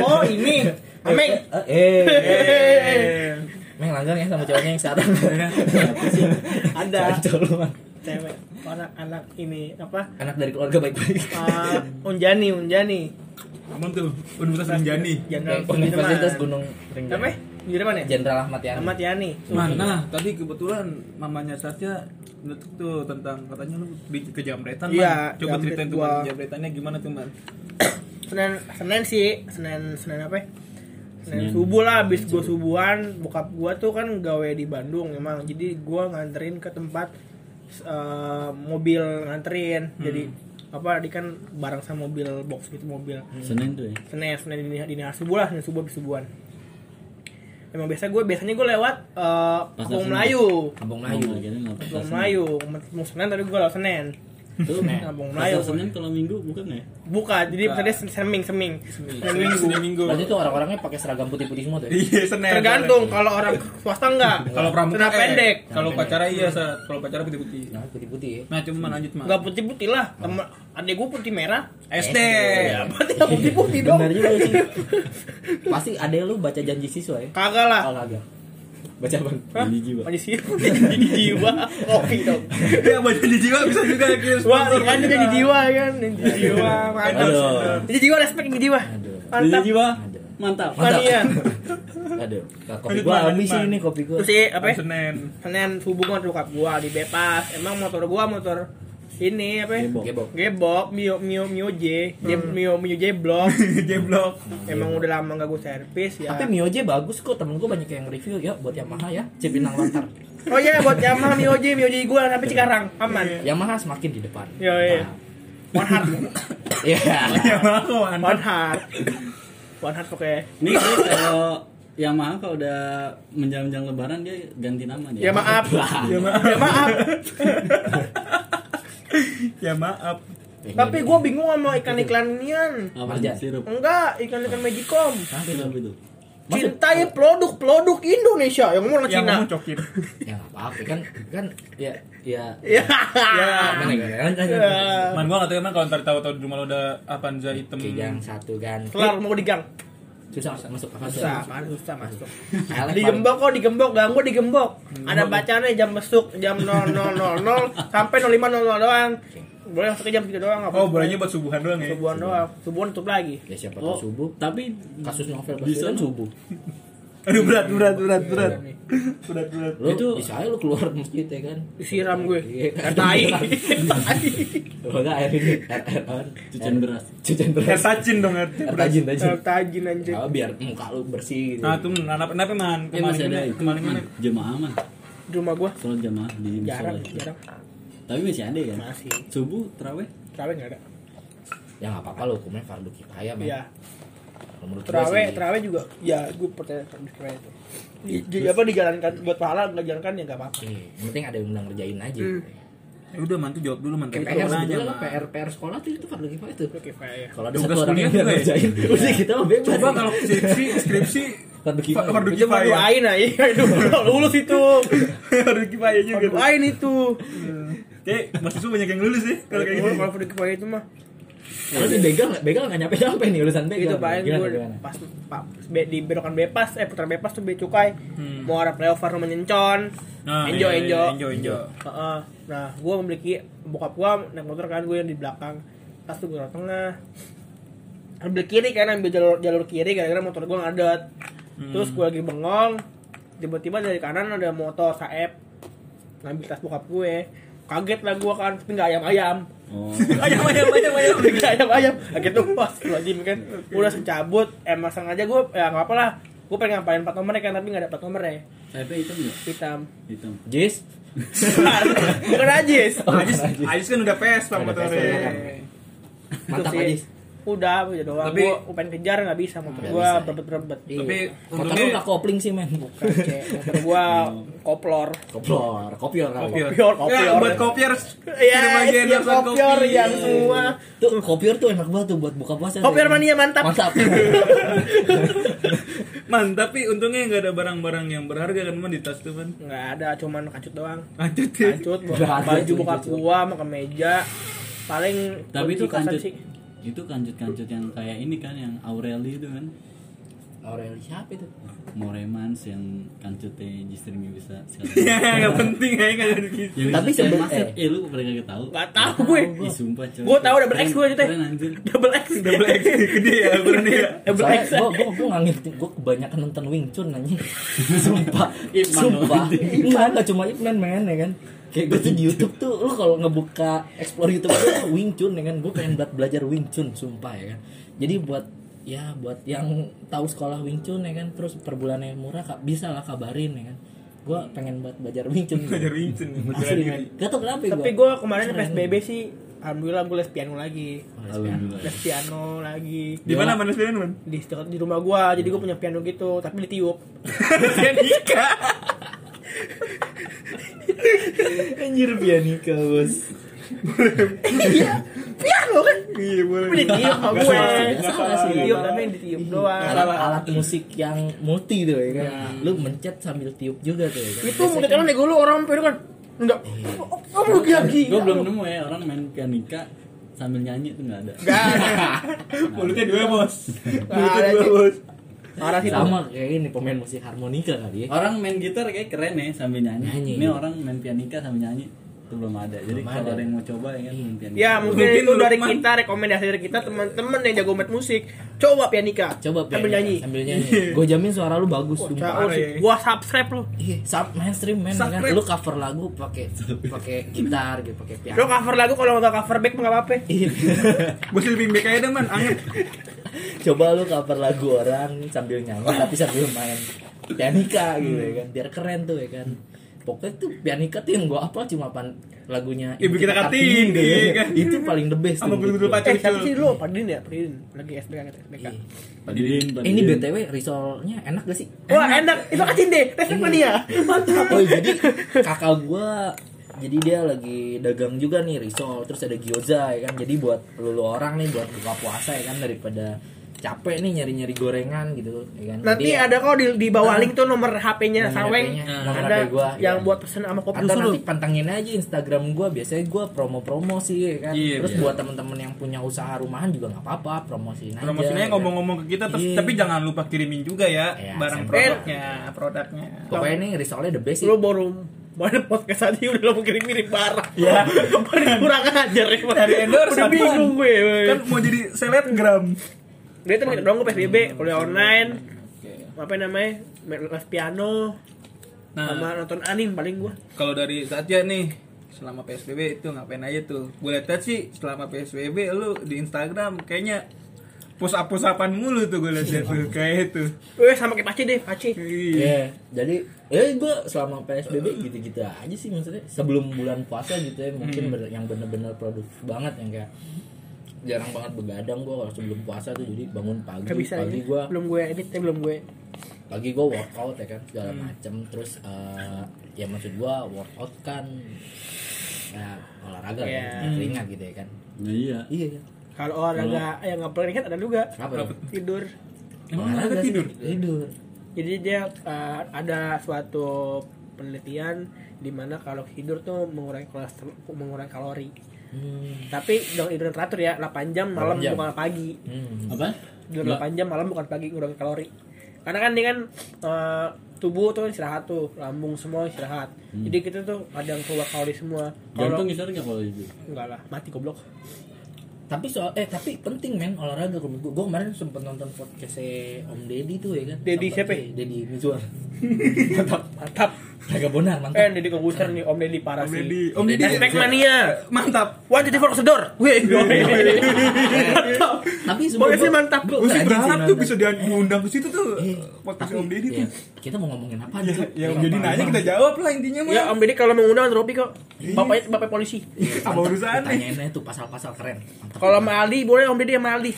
B: Oh, ini. Ameng.
D: eh, Iya,
B: Hehehe.
D: Meng langgang ya sama cowoknya yang sekarang
B: Ada
D: Kacau lu, Mang.
B: cewek anak anak ini apa?
D: anak dari keluarga baik-baik
B: Eh, unjani, unjani.
A: Emang tuh Universitas Anjani
B: Jenderal
D: Eh, gitu, Universitas
B: Sudirman.
D: Gunung
B: Apa? ya? Sudirman ya?
D: Jenderal Ahmad Yani
B: Ahmad Yani.
A: Mana? Nah, Tadi kebetulan mamanya Sasha ngetuk tuh tentang katanya lu di kejamretan. Man.
B: Iya,
A: Coba
B: jamret
A: ceritain tuh
B: gua.
A: Man, kejamretannya gimana tuh, Man?
B: Senin Senin sih, Senin Senin apa? ya? Senin
C: Senin.
B: subuh lah abis gue subuhan bokap gue tuh kan gawe di Bandung emang jadi gue nganterin ke tempat eh, mobil nganterin
C: Hmm.
B: jadi apa di kan bareng sama mobil box gitu mobil
C: Senin tuh ya.
B: Senin Senin dini, dini hari subuh lah Senin subuh abis subuhan emang biasa gue biasanya gue lewat eh
C: Pasar
B: Kampung
C: Senen.
B: Melayu
D: Kampung
C: Mau
D: Melayu
C: lagi ada nggak pas
B: Kampung
C: Senin?
B: Melayu mau Senin tadi gue lewat Senin
C: Tuh,
B: Kampung
C: Melayu.
B: Nah, Melayu.
C: Senin kalau Minggu bukan ya?
B: buka jadi
A: Buka.
B: tadi seming seming seming
A: Senin minggu.
D: berarti tuh orang-orangnya pakai seragam putih-putih semua tuh ya?
A: Iya, Senin.
B: tergantung kalau orang swasta enggak
A: Kalau pramuka
B: Celana
A: eh.
B: pendek
A: Kalau pacara iya, Sa. kalau pacara putih-putih.
D: Nah, putih-putih ya
A: Nah, cuman lanjut, Man.
B: enggak putih putih lah temen adik gue putih merah
A: SD.
B: ya berarti nggak putih putih dong
D: bener juga sih pasti ada lu baca janji siswa ya
B: kagak lah
D: kalau agak baca bang
B: Hah?
C: Janji jiwa.
B: Janji jiwa. Janji jiwa. Kopi dong.
A: Ya, baca di jiwa bisa juga ya, kirim
B: Wah, kan jadi jiwa kan. Janji jiwa. Mantap.
D: Aduh.
B: Jadi jiwa respect jadi jiwa.
D: Aduh.
B: Mantap.
C: Janji jiwa.
D: Aduh.
C: Mantap.
B: Mania.
D: Aduh, kopi
A: Lanjut,
D: gua
A: Man,
D: habis
A: lanjut,
D: ini kopi gua.
B: Terus sih apa? ya?
A: Senin.
B: Senin subuh gua tuh kap gua di bebas. Emang motor gua motor ini apa? ya?
C: Gebok.
D: Gebok.
B: Gebok, Mio Mio Mio J, J Mio Mio J Block.
A: Iya. Jeblok.
B: Emang udah lama gak gue servis ya.
D: Tapi Mio J bagus kok, temen gua banyak yang review ya buat Yamaha ya, C Pinang Lontar.
B: Oh iya buat Yamaha Mio J, Mio J gue sampai Cikarang aman.
D: Yamaha semakin di depan. Nah,
B: Iya, iya. One heart,
D: Iya.
A: Ya, mau anak.
B: one heart, one heart oke.
C: Ini sih kalau Yamaha kalau udah menjelang-jelang lebaran dia ganti nama dia.
B: Ya maaf, ya maaf.
A: Ya, maaf.
D: Iya.
B: Tapi gue bingung sama ikan iklan nian.
C: Apa
D: Marjan.
C: sirup?
B: Enggak, ikan ikan Magicom.
C: Sirup itu.
D: Maksud- oh,
B: Cintai produk-produk Indonesia yang ngomong orang
A: Yang
B: Cina.
A: mau cokir.
D: ya enggak apa-apa kan kan ya ya
B: Ya.
D: Mana ya, kan, kan,
B: Ya.
A: Man, gua nggak tahu emang kalau ntar tahu-tahu di rumah lo udah Avanza hitam.
D: Oke, yang satu kan.
B: Kelar mau digang.
D: susah masuk akal sih.
B: susah kan susah masuk
D: Elek
B: digembok kok digembok ganggu digembok ada bacanya jam besuk jam 0000 sampai 0500 doang boleh masuknya jam segitu doang nggak
A: Oh,
B: apa-apa.
A: bolanya buat subuhan doang ya.
B: subuhan doang subuhan tutup lagi
D: paling- ya siapa
C: Oh.
D: tahu subuh
C: Tapi
D: kasus novel
C: Bisa.
D: Baswedan subuh
A: Aduh berat berat berat
B: Iya,
A: berat. Berat berat.
D: lu
C: Itu-
D: bisa aja lu keluar masjid ya kan
B: disiram gue
D: Iya.
B: Dan tai
D: Kalau enggak air
A: Eh,
D: ini air air air-
C: cucian beras.
D: cucian
A: Kayak
D: beras
A: sacin dong ya.
D: air tajin tajin
B: Tai tajin anjir
D: Apa, biar muka lu bersih gitu
A: Nah, tuh nanap nanap
B: Iya,
A: man.
C: Eh
A: Kemarin
C: masih ada
A: kemarin
C: itu
A: kemarin
C: Man,
A: kemarin.
C: jemaah mah.
B: di rumah gue
C: Sholat jemaah di musola.
B: jarang jarang
C: Tapi masih ada ya.
B: masih Nah.
C: Subuh terawih
B: terawih nggak ada
D: ya nggak apa-apa lu hukumnya fardu kifayah men
B: Iya,
D: Kalau menurut gua
B: terawih,
D: sih.
B: terawih juga. Ya, gue percaya sama terawih itu. Di, di- apa dijalankan buat pahala, nggak dijalankan ya nggak apa-apa.
D: Hmm, yang penting ada yang bilang ngerjain aja
B: Hmm.
A: Ya udah man tuh jawab dulu man.
D: kayak
A: Kita
D: PR
A: mau nanya.
D: sebetulnya lah,
A: Man.
D: PR PR sekolah tuh itu fardu kifayah tuh
B: Oke, ya. kayak
D: kalau ada
A: Tugas
D: satu orang
A: kuliah
D: yang nggak
A: juga ya?
D: ngerjain udah kita mah bebas
A: Coba kalau skripsi skripsi
D: fardu kifayah
A: fardu
B: Itu mah
A: kifayah.
B: doain aja, itu lulus itu.
A: Fardu kifayah
B: Iya
A: juga. tuh.
B: Doain itu.
A: Kayak mahasiswa banyak yang lulus sih kalau
B: Iya. Kalau
A: kayak gitu.
B: gue
D: Iya.
A: gini.
B: kalau udah kepake itu mah
D: kalau di begal nggak- begal nggak nyampe nyampe nih urusan begal
B: gitu paling
D: Gimana,
B: gue
D: gimana?
B: pas pa- be- di belokan Bepas, eh putar Bepas tuh bea cukai.
D: Hmm.
B: Mau arah flyover rumah nyencon.
A: Nah,
B: enjoy,
A: iya, iya,
B: enjoy.
A: enjoy enjoy.
B: Heeh. Nah, gue memiliki bokap gue naik motor kan gue yang di belakang, pas tuh gue tengah. Ambil kiri kan ambil jalur jalur kiri gara-gara motor gue ngadet.
D: Hmm.
A: Hmm.
B: Terus gue lagi bengong, tiba-tiba dari kanan ada motor saep ngambil tas bokap gue. Kaget lah gue kan, tapi nggak ayam-ayam.
C: Oh.
B: ayam ayam ayam ayam udah kayak ayam ayam kaget tuh pas login kan udah secabut emang sengaja gue ya nggak apa lah gue pengen ngapain plat nomornya kan tapi nggak ada plat nomornya
C: Sayapnya hitam enggak?
B: hitam
C: Hitam.
B: Oh,
D: Jis
B: bukan ajis
A: Ajis, Ajis kan udah pesta
D: Udah
A: motornya.
B: ya
D: pesta, kan.
B: Itu
D: mantap
B: sih.
D: aja
B: udah udah doang
A: Tapi-
B: gue pengen kejar nggak bisa motor
D: Nggak
B: gue
D: bisa.
B: berbet berbet
A: Tapi
D: motor
A: untungnya-
D: Iya. lu nggak kopling sih men
B: motor gue koplor
D: koplor kopior kalau.
A: Kopior.
B: Kopior, kopior.
A: Ya, buat kopior. kirim
B: Iya,
A: aja
B: iya,
A: rasa kopi.
B: kopior yang semua.
D: tuh kopior tuh enak banget tuh buat buka puasa
B: Kopior
D: tuh.
B: mania mantap.
D: mantap
A: Man, tapi untungnya nggak ada barang-barang yang berharga kan man di tas tuh man.
B: Nggak ada, cuman kacut doang.
A: Lanjut ya.
B: Kacut,
D: Nggak ada
B: baju
D: cuy,
B: bokap
D: kacut.
B: gue sama kemeja. Paling
C: Tapi itu
B: kunci kosan
C: kancut.
B: sih.
C: Itu kancut-kancut yang kayak ini kan yang Aureli itu kan.
D: Aureli siapa itu
C: Moremans yang kancutnya justru nggak bisa
A: Ya,
C: sekarang.
A: nggak penting ya nggak ada di
C: Yang
D: Tapi
C: bisa kayak
D: sebelum-
C: maset.
D: eh.
C: eh lu pernah nggak tahu?
B: Nggak tahu gue.
C: Ih, sumpah coy.
B: Gue tahu double X gue itu.
C: Keren anjir.
B: Double X.
A: Double X gede ya ukurannya ya.
B: Double X.
D: Soalnya gue gue nggak ngerti gue kebanyakan nonton Wing Chun anjing sumpah
C: Ip Man
D: sumpah
C: doang.
D: nggak nggak cuma Ip Man men ya kan kayak gue tuh di YouTube tuh lu kalau ngebuka explore YouTube tuh Wing Chun ya kan gue pengen buat belajar Wing Chun sumpah ya kan jadi buat ya buat yang tahu sekolah Wing Chun ya kan terus per bulannya murah Kak, bisa lah kabarin ya kan gue pengen buat belajar Wing Chun
A: Belajar rincin
D: asli men gak tau kenapa ya
B: Tapi gue kemarin PSBB sih, alhamdulillah gue les piano lagi.
C: Alhamdulillah.
B: Les piano lagi.
A: Di mana man sebenarnya man?
B: Di dekat di rumah gue, jadi gue punya piano gitu, tapi ditiup.
A: Pianika.
D: anjir pianika bos
B: Iya, Piano kan?
A: Iya boleh.
B: Tapi ditiup sama gue.
D: Nggak salah sih.
B: Ditiup, tapi ditiup doang.
D: alat, alat musik yang multi tuh ya kan
A: Iya.
D: lu mencet sambil tiup juga tuh ya kan
B: Itu mulut orang nego lu orang piano kan. Enggak. Kamu lu gila gila.
C: Gue belum nemu ya orang main pianika sambil nyanyi tuh nggak ada.
B: Gak ada.
A: Mulutnya dua bos.
B: Nggak
A: Mulutnya
B: ada,
A: dua
B: Cik.
A: bos.
B: Parah sih.
D: sama kayak ini pemain musik harmonika kali ya
A: Oh.
C: Orang main gitar kayak keren ya sambil nyanyi.
D: Nyanyi.
C: Ini orang main pianika sambil nyanyi itu belum ada. Jadi
D: Belum
C: kalau
D: ada.
C: ada yang mau coba ya kan main pianika.
D: Iya.
B: Ya mungkin,
A: Mungkin
B: itu dari
A: Lukman.
B: kita rekomendasi dari kita teman-teman yang jago main musik. Coba pianika.
D: coba
B: sambil
D: pianika,
B: nyanyi.
D: sambil Iya, nyanyi
A: Iya.
D: gue jamin suara lu bagus sumpah.
B: Cau sih.
A: ya.
B: Gua subscribe lu.
D: Iya, sub mainstream men kan
A: Subscribe.
D: lu cover lagu pakai pakai gitar gitu pakai
B: Lu
D: piano
B: cover lagu kalau nggak cover back nggak apa-apa.
D: Iya.
A: Gue sleeping bag aja deh man. Anget.
D: coba lu cover lagu orang sambil nyanyi tapi sambil main pianika gitu ya kan biar keren tuh ya kan pokoknya tuh pianika tuh yang gue apa cuma pan lagunya
A: Ibu kita Kartini,
D: deh,
A: iya kan?
D: ya itu paling the best
A: Sama
D: tuh
A: Guru-Guru
D: menurut gua.
A: Pacar.
B: Eh siapa sih lu? Padin ya, Padin. Lagi SBK kata SBK.
D: Iya. Eh, ini
C: Padidin,
B: Iya.
C: padidin.
D: btw risolnya enak gak sih
B: Wah enak, itu kacin deh,
D: Iya.
B: Respect mania Mantap
D: oh jadi kakak gua jadi dia lagi dagang juga nih risol terus ada gyoza ya kan jadi buat lulu orang nih buat buka puasa ya kan daripada capek nih nyari-nyari gorengan gitu ya kan.
B: Nanti
D: Jadi,
B: ada kok di, di bawah link tuh nomor HP-nya
D: Ah. Nomor
B: Saweng.
D: HP-nya, nomor
B: ada
D: HP gua,
B: yang
D: iya.
B: buat pesen sama kopi
D: atau
B: suruh.
D: nanti pantangin aja Instagram gua biasanya gua promo-promo sih ya kan.
C: Iya,
D: Terus
C: biar.
D: buat temen-temen yang punya usaha rumahan juga nggak apa-apa promosiin aja.
A: Promosinya
D: ya kan.
A: ngomong-ngomong ke kita terus
D: Iya.
A: tapi jangan lupa kirimin juga ya
D: Iya,
A: barang
D: sampai-
A: produknya, produknya.
D: Pokoknya ini risolnya the best sih.
B: Lu baru baru podcast tadi udah lo kirim kirim barang.
D: Iya.
B: Ya. kurang ajar ya.
A: Dari endorse apaan?
B: Udah bingung gue.
D: Eh.
B: woy.
A: Kan mau jadi selebgram.
B: Dia tuh minta dong gue PSBB,
D: Hmm.
B: kuliah online. Apa namanya? Main les piano sama
A: Nah,
B: nonton anime paling gua.
A: kalau dari Satya nih selama PSBB itu ngapain aja tuh? Gue lihat sih selama PSBB lu di Instagram kayaknya push up push upan mulu tuh gue lihat tuh kayak itu.
B: Eh sama kayak Paci deh, Paci.
A: Iya.
D: Iya, jadi eh gua selama PSBB gitu-gitu aja sih maksudnya sebelum bulan puasa gitu ya mungkin bener- yang bener-bener produktif banget yang kayak jarang banget begadang gua kalau sebelum puasa tuh jadi bangun pagi
B: Gak bisa ini.
D: pagi gua
B: Belum gue edit, eh, belum gue.
D: pagi gua workout ya kan segala macem terus eh, ya maksud gua workout kan ya, olahraga
B: Iya.
D: ya, keringat gitu ya kan
C: Nah, iya.
D: iya iya
B: Kalau olahraga yang nggak pelarikan ada juga
D: kenapa dong?
B: tidur.
A: Emang olahraga
D: sih?
A: tidur?
D: tidur
B: Jadi dia uh, ada suatu penelitian di mana kalau tidur tuh mengurangi kolesterol, mengurangi kalori.
D: hmm.
B: Tapi dengan tidur yang teratur ya, 8 jam malam
D: 8 jam.
B: bukan pagi.
D: Hmm.
C: Apa?
B: Tidur
C: Nggak.
B: 8 jam malam bukan pagi ngurangi kalori. Karena kan dia kan uh, tubuh tuh istirahat tuh, lambung semua istirahat. Jadi kita tuh ada yang keluar kalori semua. Kalau
C: Jantung ya? ngisar nggak kalau itu?
B: enggak lah, mati goblok.
D: tapi soal eh tapi penting men olahraga gue gue kemarin sempet nonton podcastnya Om Deddy tuh ya kan
B: Deddy
D: Sempet-
B: siapa ya?
D: iya, Deddy Mizwar mantap
B: Mantap.
D: Raga
B: Eh,
D: Bonar mantap
B: Deddy Kobuser nih, Om Deddy parah
A: Om
B: sih.
A: Deddy, Om
D: Om
A: Deddy.
D: Deddy.
B: Hashtag mania.
A: Mantap.
B: One two three four sedor. Wih, mantap.
D: tapi
B: Pokoknya mantap.
D: gue
A: Gue sih berharap tuh bisa dia- diundang ke situ tuh
D: Iya.
A: podcast Om Deddy tuh.
D: kita mau ngomongin apa aja tuh?
A: Ya,
D: Iya,
A: Om Deddy
D: apa-
A: nanya kita jawab lah intinya mah.
B: Ya Om Deddy kalau mengundang Robi kok bapaknya bapak polisi.
A: Apa urusannya?
D: Ditanyain aja tuh pasal-pasal keren. Mantap.
B: Kalau sama Aldi boleh Om Deddy sama Aldi.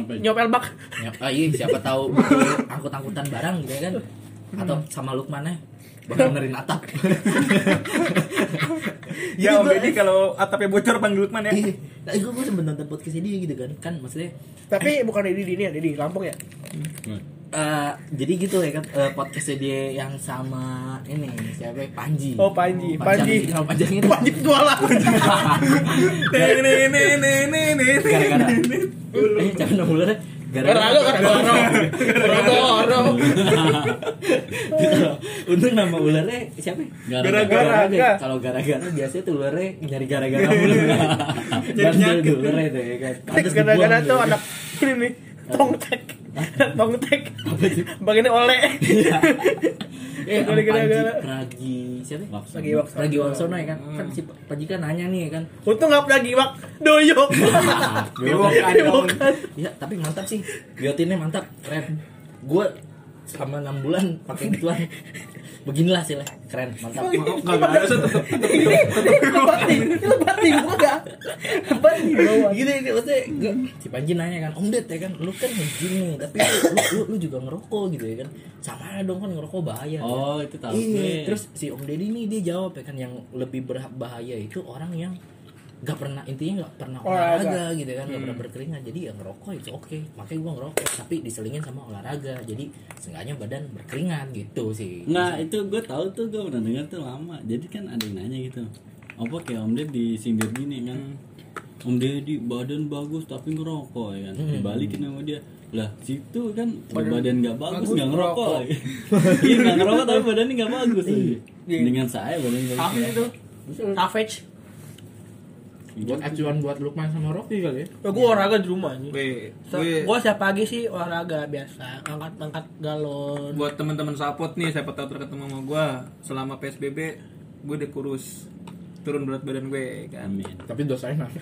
C: Ngapain?
B: Nyopel bak.
D: Ya, ah, iya, siapa tahu betul angkut-angkutan barang gitu ya kan. Atau sama Lukman ya. Bakal benerin atap.
A: Eh. Ya Om Deddy kalau atapnya bocor panggil Lukman ya.
D: Iya. Nah, gue gue sempet nonton podcast dia gitu kan. Kan maksudnya
B: Tapi bukan Deddy di ini ya, Deddy Lampung ya.
D: eh, jadi gitu ya kan eh, podcastnya dia yang sama ini siapa ya? Panji.
B: Oh, Panji. Panji.
D: Panji. Panji.
B: Wajib jualan.
A: Nih nih nih nih nih nih.
D: Gara-gara. Eh, jangan dong, ularnya.
B: Gara-gara gara-gara. Gara-gara.
D: Gitu. Untung nama ularnya siapa? ya?
C: Gara-gara.
D: Gara-gara. Kalau gara-gara biasanya tuh ularnya nyari gara-gara mulu.
B: Iya.
D: Bandel tuh ularnya tuh ya kan. Pantes
B: Gara-gara
D: dibuang
B: tuh
D: tuh.
B: anak ini nih. Tongtek. Anak Tongtek. Bagiannya oleh.
D: Eh, sama
B: Gara-gara.
D: Panji Pragi siapa? ya?
C: Waksa.
B: Lagi waktu.
D: Pragi Waksono ya kan. Kan si Panji kan nanya nih ya kan.
B: Untung nggak pernah giwak. Doyok. Ah.
A: Bewokan.
B: Bewokan.
D: Iya, tapi mantap sih. Biotinnya mantap, keren. Gue selama 6 bulan pakai gituan. Beginilah sih lah, keren, mantap.
A: Enggak ada tetap
B: Lebat nih. Lebat nih. Bukan nggak? Lebat nih. bawah.
D: gitu ya maksudnya gua- si Panji nanya kan om Ded ya kan lu kan nge-gym nih tapi lu, lu, lu juga ngerokok gitu ya kan sama aja dong kan ngerokok bahaya kan.
C: Oh, itu tahu gue.
D: iya terus si om Deddy nih dia jawab ya kan yang lebih berbahaya itu orang yang gak pernah intinya gak pernah
B: Olahraga.
D: olahraga gitu kan gak pernah berkeringat jadi ya ngerokok itu oke makanya gua ngerokok tapi diselingin sama olahraga jadi seenggaknya badan berkeringat gitu sih
C: Nggak, Nah, itu gue tahu tuh gue pernah dengar tuh lama. Jadi kan ada yang nanya gitu. Apa kayak Om Ded disindir gini kan? Om Deddy badan bagus tapi ngerokok ya kan. Dibalikin sama dia. Lah, situ kan badan nggak bagus nggak ngerokok. Iya, nggak ngerokok Iya. tapi badannya nggak bagus. Dengan saya badan nggak bagus.
B: Savage itu. Savage.
C: Iya.
D: buat acuan buat Lukman sama Rocky kali ya
B: Ya, gue olahraga di rumah aja.
A: Weh, weh.
B: Gue siap pagi sih olahraga biasa, angkat angkat galon.
A: buat teman-teman support nih siapa tahu terketemu sama gua selama PSBB gue udah kurus turun berat badan gue kan
C: Amin.
D: tapi dosanya nanya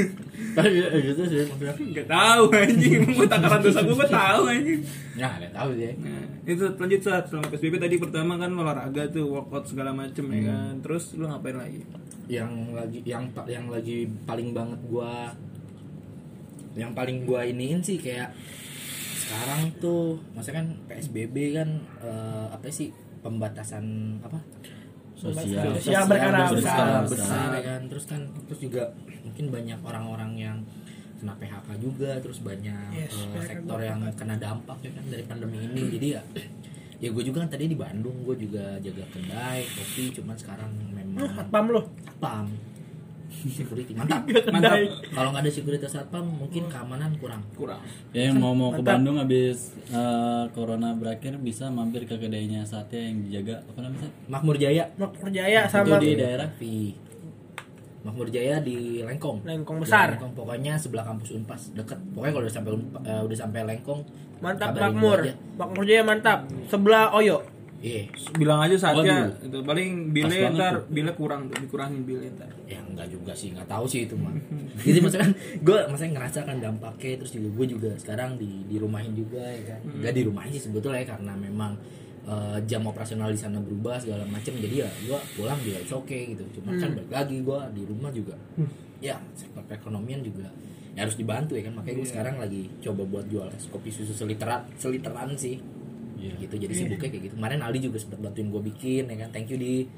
D: tapi eh, gitu sih maksudnya
A: nggak tahu anjing emang gue takaran dosa gue gue tahu anjing
D: Nah, gak tahu sih.
A: nah, itu lanjut saat selama PSBB tadi pertama kan olahraga tuh workout segala macem ya kan terus lu ngapain lagi
D: Yang lagi yang pa- yang lagi paling banget gua yang paling gua iniin sih kayak sekarang tuh maksudnya kan PSBB kan eh, apa sih pembatasan apa
C: Sosial.
B: Sosial berskala
D: berskala
C: besar.
D: besar, ya kan terus kan terus juga mungkin banyak orang-orang yang kena PHK juga terus banyak
B: Yes,
D: eh,
B: PHK
D: sektor
B: gua
D: yang kena dampak ya kan dari pandemi ini jadi ya ya gue juga kan tadi di Bandung gue juga jaga kedai kopi cuman sekarang memang
B: satpam lo
D: satpam security mantap
B: Mantap.
D: kalau nggak ada security satpam mungkin
B: Hmm.
D: keamanan kurang
A: kurang
C: Ya yang mau mau ke
B: Mantap.
C: Bandung habis eh, corona berakhir bisa mampir ke kedainya sate yang dijaga apa namanya? Sat?
D: Makmur Jaya
B: Makmur Jaya sama
C: di daerah?
D: Tapi Makmur Jaya di Lengkong.
B: Lengkong besar.
D: Di Lengkong pokoknya sebelah kampus Unpas, deket. Pokoknya kalau udah sampai Unpa- eh, udah sampai Lengkong,
B: mantap
D: kabarin
B: Makmur
D: gua aja.
B: Makmur Jaya mantap sebelah Oyo
D: Iya,
A: bilang aja saatnya
C: Waduh.
A: itu paling bile
C: Pas banget
A: ntar bile kurang tuh dikurangin bile ntar
D: ya enggak juga sih, enggak tahu sih itu mah. Jadi maksudnya gue maksudnya ngerasakan dampaknya terus juga gue juga sekarang di dirumahin juga ya kan.
C: Hmm.
D: Enggak dirumahin sih sebetulnya ya, karena memang eh, jam operasional di sana berubah segala macam jadi ya gue pulang juga it's okay gitu cuma
C: Hmm.
D: kan balik lagi gue di rumah juga ya sektor perekonomian juga ya harus dibantu ya kan makanya
C: Iya.
D: gue sekarang lagi coba buat jual es kopi susu seliteran seliteran sih
C: Iya.
D: gitu jadi sibuknya kayak gitu kemarin Aldi juga sempat bantuin gue bikin ya kan thank you di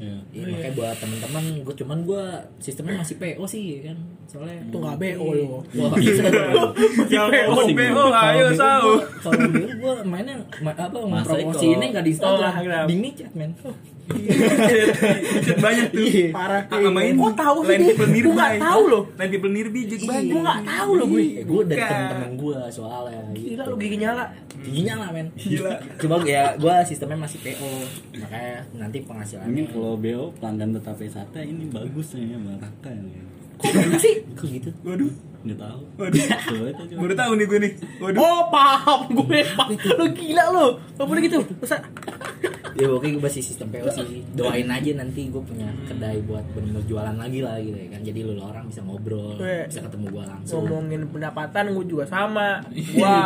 C: Iya.
D: Iya, makanya buat teman-teman gue cuman gue sistemnya masih PO sih ya kan soalnya
B: Tuh nggak BO lo.
D: Wah, bisa.
A: yang
C: Oh,
A: PO
C: sih,
A: PO
C: gua.
A: ayo sau
D: kalau dulu gue mainnya ma- apa
C: Masa
D: promosi
C: ikut.
D: ini nggak di
B: Oh, Instagram.
D: Instagram di chat men
B: Iya.
A: Chat banyak tuh
D: Iya.
B: parah
A: Ah, sama ini
B: oh tahu sih
A: lain
B: gue
A: people nirbi
B: nggak tahu loh Iya.
A: lain people nirbi jek banyak
B: gue nggak tahu loh gue
D: gue dari
A: Bukan.
D: teman-teman gue soalnya
B: Iya. gila
D: gitu.
B: lo gigi nyala
D: giginya lah men
A: Gila.
D: coba ya gue sistemnya masih PO makanya nanti penghasilannya
C: Ini kalau BO pelanggan tetap sate ini bagus nih ya merata ya.
D: kok sih kok gitu
A: waduh
C: Nggak tahu.
A: Waduh.
C: Coba itu coba.
A: baru tahu nih gue nih waduh
B: oh paham gue paham lo gila lo nggak boleh gitu masa
D: ya oke gue masih sistem PO sih doain aja nanti gue punya kedai buat bener jualan lagi lah gitu ya kan jadi lu orang bisa ngobrol
B: Weh.
D: bisa ketemu gue langsung
B: ngomongin pendapatan gue juga sama
D: Iya.
B: gua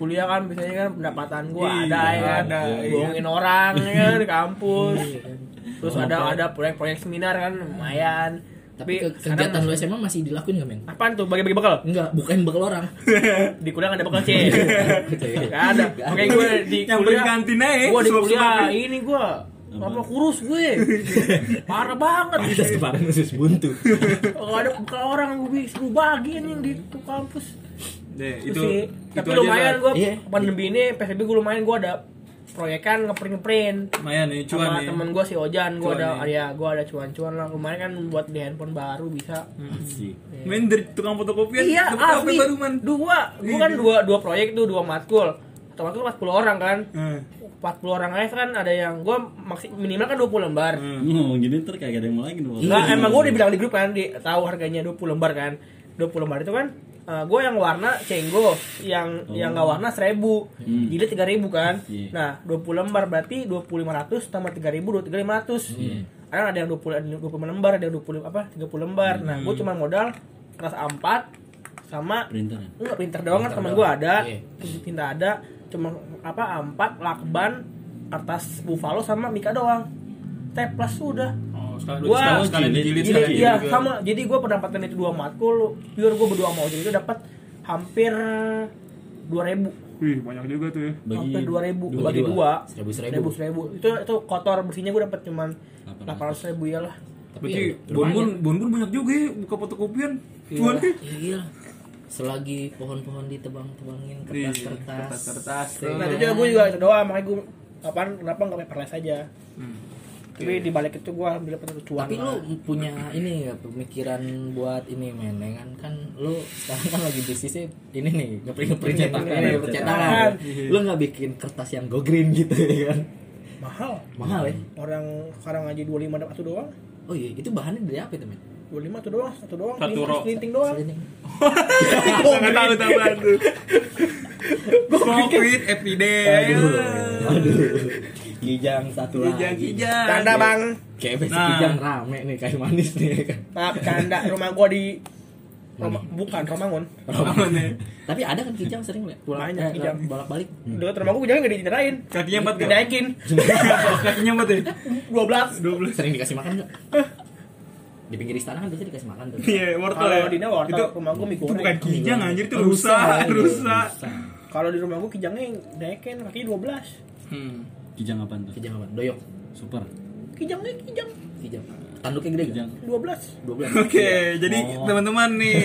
B: kuliah kan biasanya kan pendapatan gua
A: Iya,
B: ada ya kan
A: ada, iya.
B: bohongin orang ya kan di kampus
D: Iya kan.
B: terus
D: Ngomong
B: ada
D: apa?
B: ada proyek-proyek seminar kan lumayan
D: tapi
B: tapi
D: ke- kegiatan lu SMA masih dilakuin gak men?
B: apaan tuh bagi-bagi bekal
D: enggak bukan bekal orang
B: di kuliah nggak ada bekal sih Gak ada. Oke gue di
A: Yang
B: kuliah
A: berkantin aja ya,
B: Gue di
A: sebab-sebab
B: kuliah
A: ya.
B: ini gue apa kurus gue. Parah banget.
D: pantas kemarin usus buntu
B: Kalau ada bekal orang gue seru bagian yang di kampus.
A: deh
B: Terus
A: itu
B: sih.
A: itu
B: Tapi
A: aja
B: lumayan
A: Sat.
B: gue
D: Iya.
B: pandemi ini PSBB gue lumayan gue ada proyekan ngeprint ngeprint
A: lumayan nih cuan
B: sama
A: nih
B: temen gue si Ojan gue
A: Cuan
B: ada
A: nih.
B: ya gue ada cuan-cuan lah lumayan kan buat di handphone baru bisa
C: Asik.
A: main dari tukang fotokopian
B: iya
A: Hmm. dapet HP
B: asli
A: baru man Iya.
B: dua gue kan dua dua proyek tuh dua matkul atau matkul 40 orang kan 40 orang aja kan ada yang gue maksi, minimal kan 20 lembar
C: Hmm. Ngomong gini ntar kayak ada yang mau lagi nih.
B: Enggak, emang gue udah bilang di grup kan di, tahu harganya 20 lembar kan 20 lembar itu kan gue yang warna cenggo yang yang nggak warna 1000 jadi 3000 kan
C: Iya.
B: nah 20 lembar berarti 2500 tambah 3000 2500 ada ada yang 20 ada yang 25 lembar ada yang 20 apa 30 lembar nah gue cuma modal kertas A4 sama
C: Printer. ya?
B: Enggak pinter doang kan
D: Pinter
B: teman
D: doang.
B: gue ada,
D: Iya.
B: tinta ada, cuma apa ampat, lakban, kertas buffalo sama mika doang. Teplas udah.
A: oh sekalian
B: Wah,
A: sekalian- sekalian
C: jilid.
A: dijilid
B: Jadi
A: sekalian
B: iya
A: juga.
B: sama. Jadi gue pendapatan itu dua matkul, pure gue berdua mau jadi itu dapat hampir 2000
A: wih banyak juga tuh ya
C: Bagi
B: hampir 2000
D: dua,
B: bagi
D: dua.
B: dua
D: Seribu, seribu.
B: seribu. itu itu kotor bersihnya gue dapat cuman 800 ribu ya lah
A: berarti bon bon bon bon banyak juga ya buka fotokopian cuan kan? nih
D: iya iya selagi pohon-pohon ditebang-tebangin kertas-kertas
A: kertas-kertas.
D: Iya.
B: Nah itu juga gue juga itu doang makanya gue apaan kenapa nggak paperless aja.
A: Hmm.
B: Tapi di balik itu gue ambil dapat cuan.
D: tapi
B: lah.
D: lu punya ini nggak pemikiran buat ini men ya kan kan lu sekarang kan lagi bisnisnya ini nih ngeprint ngeprint cetakan
B: Ngeprint,
D: ya, percetakan lu nggak bikin kertas yang go green gitu ya kan
B: mahal.
D: mahal ya
B: Orang sekarang aja 25 dapat satu doang.
D: oh iya itu bahannya dari apa itu men
B: 25 satu doang, satu doang,
A: Satu
B: kelinting-
A: roll.
B: kelinting doang.
D: Selain-
A: Gak tahu tahu tuh. Covid epidemic.
D: aduh aduh kijang satu
A: Kijang
D: lagi
A: kijang.
B: Canda bang,
D: kayak besok
A: Nah.
D: kijang rame nih kayak manis nih ya kan
B: maaf canda. Rumah gue di rumah, bukan Romangun.
A: Apa nih?
D: tapi ada kan kijang sering liat pulang eh,
B: Banyak kijang.
D: bolak balik
B: Deket rumah gue jangan gak dicerain.
A: Hmm. Kakinya empat gak?
B: Dinaikin
A: Kakinya empat ya?
B: 12
A: 12.
D: sering dikasih makan nggak di pinggir istana kan biasanya dikasih makan tuh
A: Iya, wortel. ya.
B: Kalau di Nawar,
A: itu
B: rumah gue mie
A: itu bukan
B: goreng.
A: kijang anjir itu
D: Rusa,
A: rusa,
D: iya.
A: rusa.
B: Kalau di rumah gue kijangnya naikin kaki 12.
A: Hmm.
C: Kijang apaan tuh?
D: kijang apa doyok
C: Super.
B: kijang nih kijang
D: Kijang. Tanduknya gede kijang.
B: 12
D: 12.
A: Oke,
B: Iya.
A: jadi
C: Oh.
A: teman-teman nih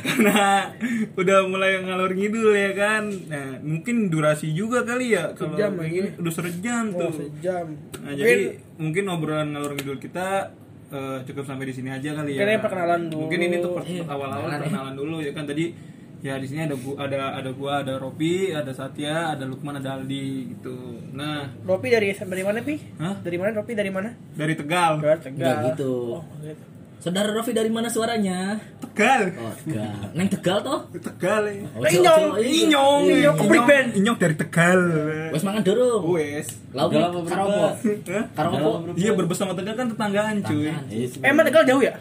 A: karena udah mulai ngalor ngidul ya kan. Nah, mungkin durasi juga kali ya kalau
B: Sejam
A: kayak
B: lagi.
A: gini udah sejam
B: oh,
A: tuh.
B: sejam
A: Nah, jadi mungkin obrolan ngalor ngidul kita eh, cukup sampai di sini aja kali ya.
B: Kayaknya perkenalan dulu.
A: Mungkin ini tuh per-
D: Iya,
A: awal-awal
D: perkenalan ya.
A: perkenalan dulu ya kan tadi ya di sini ada gua, ada ada gua, ada Ropi, ada Satya, ada Lukman, ada Aldi gitu. Nah,
B: Ropi dari dari mana pi
A: Hah?
B: dari mana Ropi dari mana
A: dari Tegal.
B: dari
D: Enggak gitu.
B: oh, gitu.
D: Saudara Raffi dari mana suaranya?
A: Tegal.
D: Oh, Tegal. Neng Tegal toh?
A: Tegal. ya.
D: Oh,
B: Inyong.
D: Jawa- Jawa.
A: Oh, Inyong,
B: Inyong, kebrik band.
A: Inyong dari Tegal.
D: Iya, Wes mangan dorong.
A: Wes.
D: Lauk
C: Udah lama
D: karopo.
A: Hah?
D: Karopo.
C: Udah lama
A: Iya berbes sama Tegal kan tetanggaan cuy.
D: Tangan.
C: Iya, sih.
B: eh emang tegal jauh ya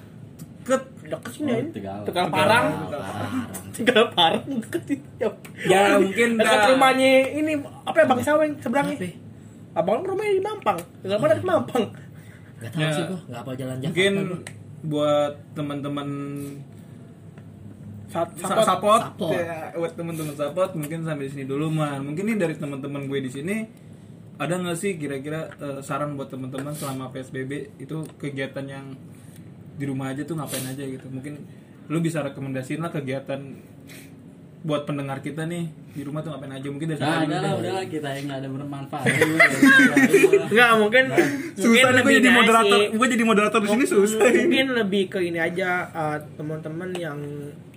A: Ket.
B: deket sini
C: Oh,
B: ya
C: Tegal.
B: tegal
A: Tegal.
B: parang
D: Parang.
B: tegal parang deket sini.
A: Ya mungkin
B: dekat
A: dah.
B: rumahnya ini apa ya bang saweng seberangnya
D: Apa?
B: abang lu rumahnya di Mampang tegal parang di Mampang
D: Gak tahu
A: Ya.
D: sih gua, gak apa jalan Jakarta.
A: Mungkin
D: gua.
A: buat teman-teman
B: saat
A: sa- sapot,
D: Sapot.
A: Ya, buat teman-teman sapot mungkin sampai di sini dulu man. Mungkin ini dari teman-teman gue di sini ada nggak sih kira-kira eh, saran buat teman-teman selama PSBB itu kegiatan yang di rumah aja tuh ngapain aja gitu. Mungkin lu bisa rekomendasiin lah kegiatan buat pendengar kita nih di rumah tuh ngapain aja mungkin dari Satya dulu
C: Nah, udah lah,
A: deh.
C: udah lah kita yang nggak ada bermanfaat.
B: Nggak, mungkin mungkin
A: Susah nih gue
B: lebih
A: jadi
B: naik
A: moderator.
B: sih.
A: Gue jadi moderator di sini susah. ini.
B: mungkin lebih ke ini aja uh, teman-teman yang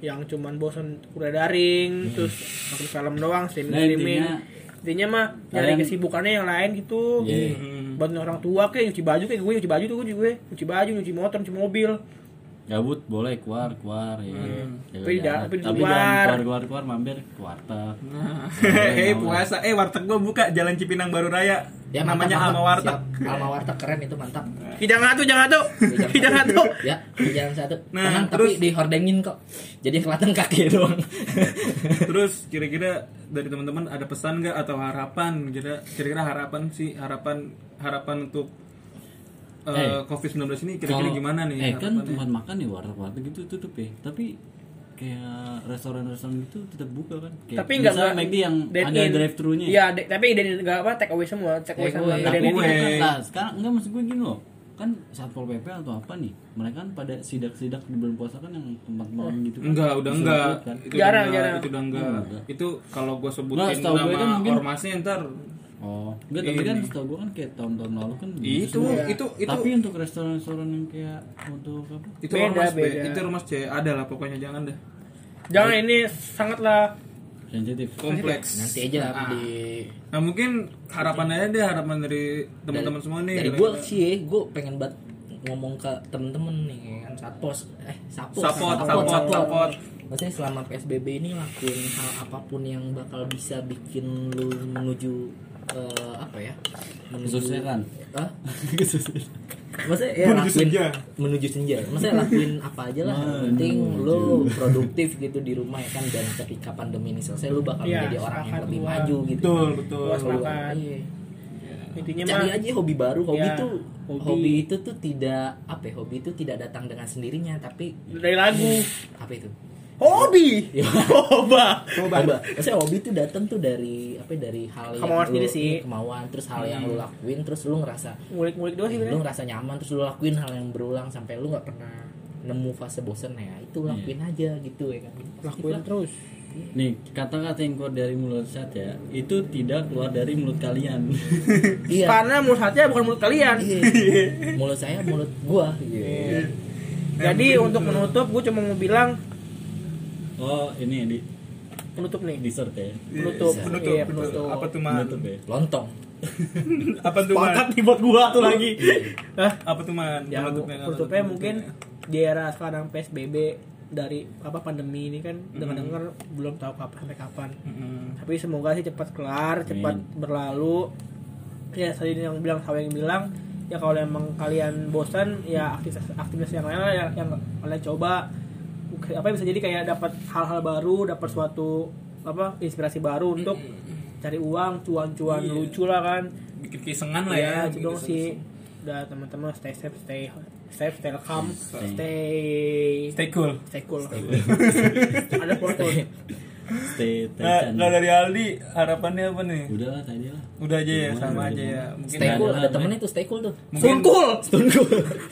B: yang cuman bosan kuliah daring terus nonton film doang streaming
C: Hmm. Nah,
B: streaming
C: intinya-
B: intinya mah nyari
C: Kalian-
B: kesibukannya yang lain gitu
C: Iya.
A: Hmm.
B: bantu orang tua kayak nyuci baju kayak gue nyuci baju tuh gue juga nyuci baju nyuci motor nyuci mobil
C: Gabut boleh keluar keluar ya. Jaga
B: Hmm. Tapi
C: jarak.
B: jangan- tapi
C: Tapi
B: keluar.
C: jangan keluar keluar keluar mampir ke warteg.
A: Hei puasa, eh warteg gue buka Jalan Cipinang Baru Raya.
D: Ya, mantap,
A: namanya
D: mantap.
A: Alma Warteg.
D: Siap. Alma Warteg keren itu mantap.
B: tidak ngatu jangan ngatu tidak ngatu
D: ya di jalan satu
A: Nah,
D: tenang
A: terus-
D: tapi dihordengin kok jadi kelihatan kaki doang
A: Terus kira-kira dari teman-teman ada pesan nggak atau harapan? Kira- Kira-kira harapan sih harapan harapan untuk eh, COVID-19 ini kira-kira
C: Kalau-
A: gimana nih?
C: Eh kan
A: harapannya?
C: tempat makan nih warteg-warteg gitu tutup ya. Tapi kayak restoran-restoran gitu tetap buka kan. Kayak
B: tapi nggak
C: misalnya
B: nggak-
C: McD yang
B: dine
C: ada
B: in.
C: drive thru-nya.
B: iya de- tapi dan nggak apa take away semua take away
D: Take
B: semua
D: away.
C: Nah,
B: nggak ada
A: Take
B: yang-
A: away.
C: bukan lah. kan sekarang enggak maksud gue gini loh. Kan Satpol PP atau apa nih? Mereka kan pada sidak-sidak di bulan puasa kan yang tempat
B: Oh.
C: makan gitu kan.
A: Enggak, udah enggak.
C: Disuruh kan.
A: Itu
B: Jarang,
A: udah enggak,
B: jarang.
A: Itu udah enggak. Itu kalau gue sebutin
C: Nggak, setahu gue
A: nama
C: kan mungkin-
A: ormasnya ntar
C: Oh, enggak tapi kan setahu gue kan kayak tahun-tahun lalu kan begitu
A: Iya, itu
C: semua.
B: Iya.
A: itu itu
C: Tapi untuk restoran-restoran yang kayak untuk apa?
A: itu
B: Beda,
A: ormas B,
B: beda.
A: itu ormas C ada lah pokoknya jangan dah
B: jangan ini sangatlah
C: Sensitif.
A: kompleks
D: nanti aja lah
A: Ah.
D: di
A: Nah mungkin harapan aja deh harapan dari teman-teman semua nih. gitu kan.
D: dari gue
A: kira-kira.
D: sih ya gue pengen banget ngomong ke temen-temen nih kan satpos eh sapos
A: Sapot, sapot, sapot.
D: maksudnya selama psbb ini lakuin hal apapun yang bakal bisa bikin lu menuju eh, apa ya menuju
C: Kesusahan.
D: Hah? Maksudnya ya
A: Menuju
D: lakuin-
A: senja.
D: Menuju senja Maksudnya lakuin apa aja lah Yang penting lo produktif gitu di rumah ya kan Dan ketika pandemi ini selesai Lo bakal
B: Iya,
D: menjadi orang yang
B: sepakat
D: lebih
B: gua.
D: maju gitu
A: Betul betul.
B: luas
D: Keluar,
B: makan
D: iya.
B: intinya mah
D: Cari aja hobi baru Hobi
B: Iya,
D: tuh
B: hobi.
D: hobi. itu tuh tidak Apa ya Hobi itu tidak datang dengan sendirinya Tapi
B: dari lagu
D: Apa itu?
B: hobi coba
D: Coba. Maksudnya hobi itu datang tuh dari apa ya, dari hal yang
B: Kemauan
D: lu-
B: sendiri sih.
D: iya, kemauan terus hal yang lu lakuin terus lu ngerasa
B: ngulik-ngulik doang sih
D: lu
B: sebenarnya
D: ngerasa nyaman terus lu lakuin hal yang berulang sampai lu nggak pernah nemu fase bosen ya itu lakuin aja gitu ya kan
B: Iya. lakuin terus
C: Nih, kata-kata yang keluar dari mulut Sat ya, itu tidak keluar dari mulut kalian.
D: iya
B: karena mulut hatinya bukan mulut kalian
D: Iya. mulut saya mulut gua Iya.
B: jadi untuk menutup gue cuma mau bilang
C: oh, ini di
B: penutup nih
C: dessert ya.
B: penutup
A: Penutup,
B: Iya,
A: penutup. Apa tuh man?
C: Penutup ya.
D: lontong
A: Apa tuh man?
B: nih buat gua tuh lagi Hah?
A: Apa tuh man?
B: ya
A: Penutupnya,
B: penutupnya
A: penutupnya.
B: mungkin di era sekarang PSBB dari apa pandemi ini kan dengar-dengar belum tahu kapan sampai kapan
A: Mm-mm.
B: tapi semoga sih cepat kelar cepat berlalu ya tadi yang bilang saya yang bilang ya kalau emang kalian bosan ya aktivitas aktivitas yang lain lah yang, yang kalian coba apa bisa jadi kayak dapat hal-hal baru dapat suatu apa inspirasi baru untuk cari uang cuan-cuan lucu lah kan
A: bikin kisengan lah ya.
B: ya itu
A: bikin
B: dong
A: kisen-
B: sih udah teman-teman stay safe stay safe stay calm Iya, stay
A: Stay cool.
B: stay cool ada quote Eh,
C: stay
A: Nah,
C: tekan
A: kalau dari Aldi harapannya apa nih?
C: udah lah tadi lah
A: Udah aja ya,
C: Gimana,
A: sama
C: gimana?
A: aja ya. Mungkin
D: Stay cool,
C: ada
D: ada
C: lah,
D: temennya tuh stay cool tuh.
A: Mungkin-
B: Sungkul,
D: Stuncool.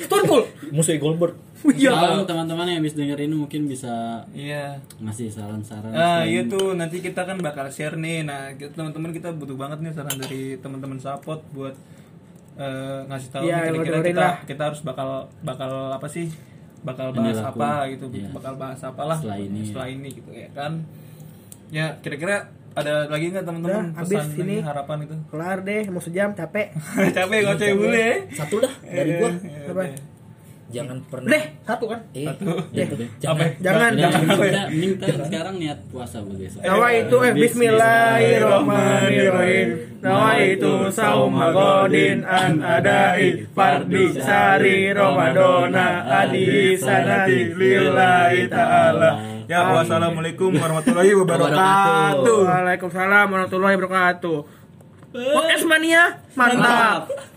B: sungkul.
D: Musuhnya Goldberg.
B: Iya.
C: Kalau teman-teman yang habis denger ini mungkin bisa
A: iya.
C: ngasih saran-saran
A: Ah,
C: selain-
A: iya tuh nanti kita kan bakal share nih. Nah, kita- teman-teman kita butuh banget nih saran dari teman-teman support buat eh, ngasih tahu
B: Iya,
A: nih kira-kira
B: dengerin
A: kita
B: lah.
A: kita harus bakal bakal apa sih? Bakal bahas
C: Yang
A: apa
C: dilakuin.
A: gitu.
C: Iya.
A: Bakal bahas apalah
C: Setelah ini.
A: setelah ini gitu ya kan. Ya, kira-kira ada lagi nggak teman-teman
B: Udah, habis
A: pesan
B: ini.
A: ini harapan itu?
B: Kelar deh, mau sejam capek.
A: Capek ya. gak cewek bule.
D: Satu dah dari gua.
B: Apa?
D: Jangan pernah.
B: Deh, eh. satu kan.
D: Eh,
C: Deh.
D: gitu.
A: Apa?
B: Jangan,
D: Jangan.
C: Udah,
B: jangan.
C: mending kita, mending kita sekarang niat puasa begitu.
B: Nawa itu eh Bismillahirrahmanirrahim. Nawa itu saum hagodin an adai fardi sari Ramadana adi sanati lillahi ta'ala.
A: Ya, wassalamualaikum warahmatullahi wabarakatuh.
B: Waalaikumsalam warahmatullahi wabarakatuh. Podcast mania Iya. mantap.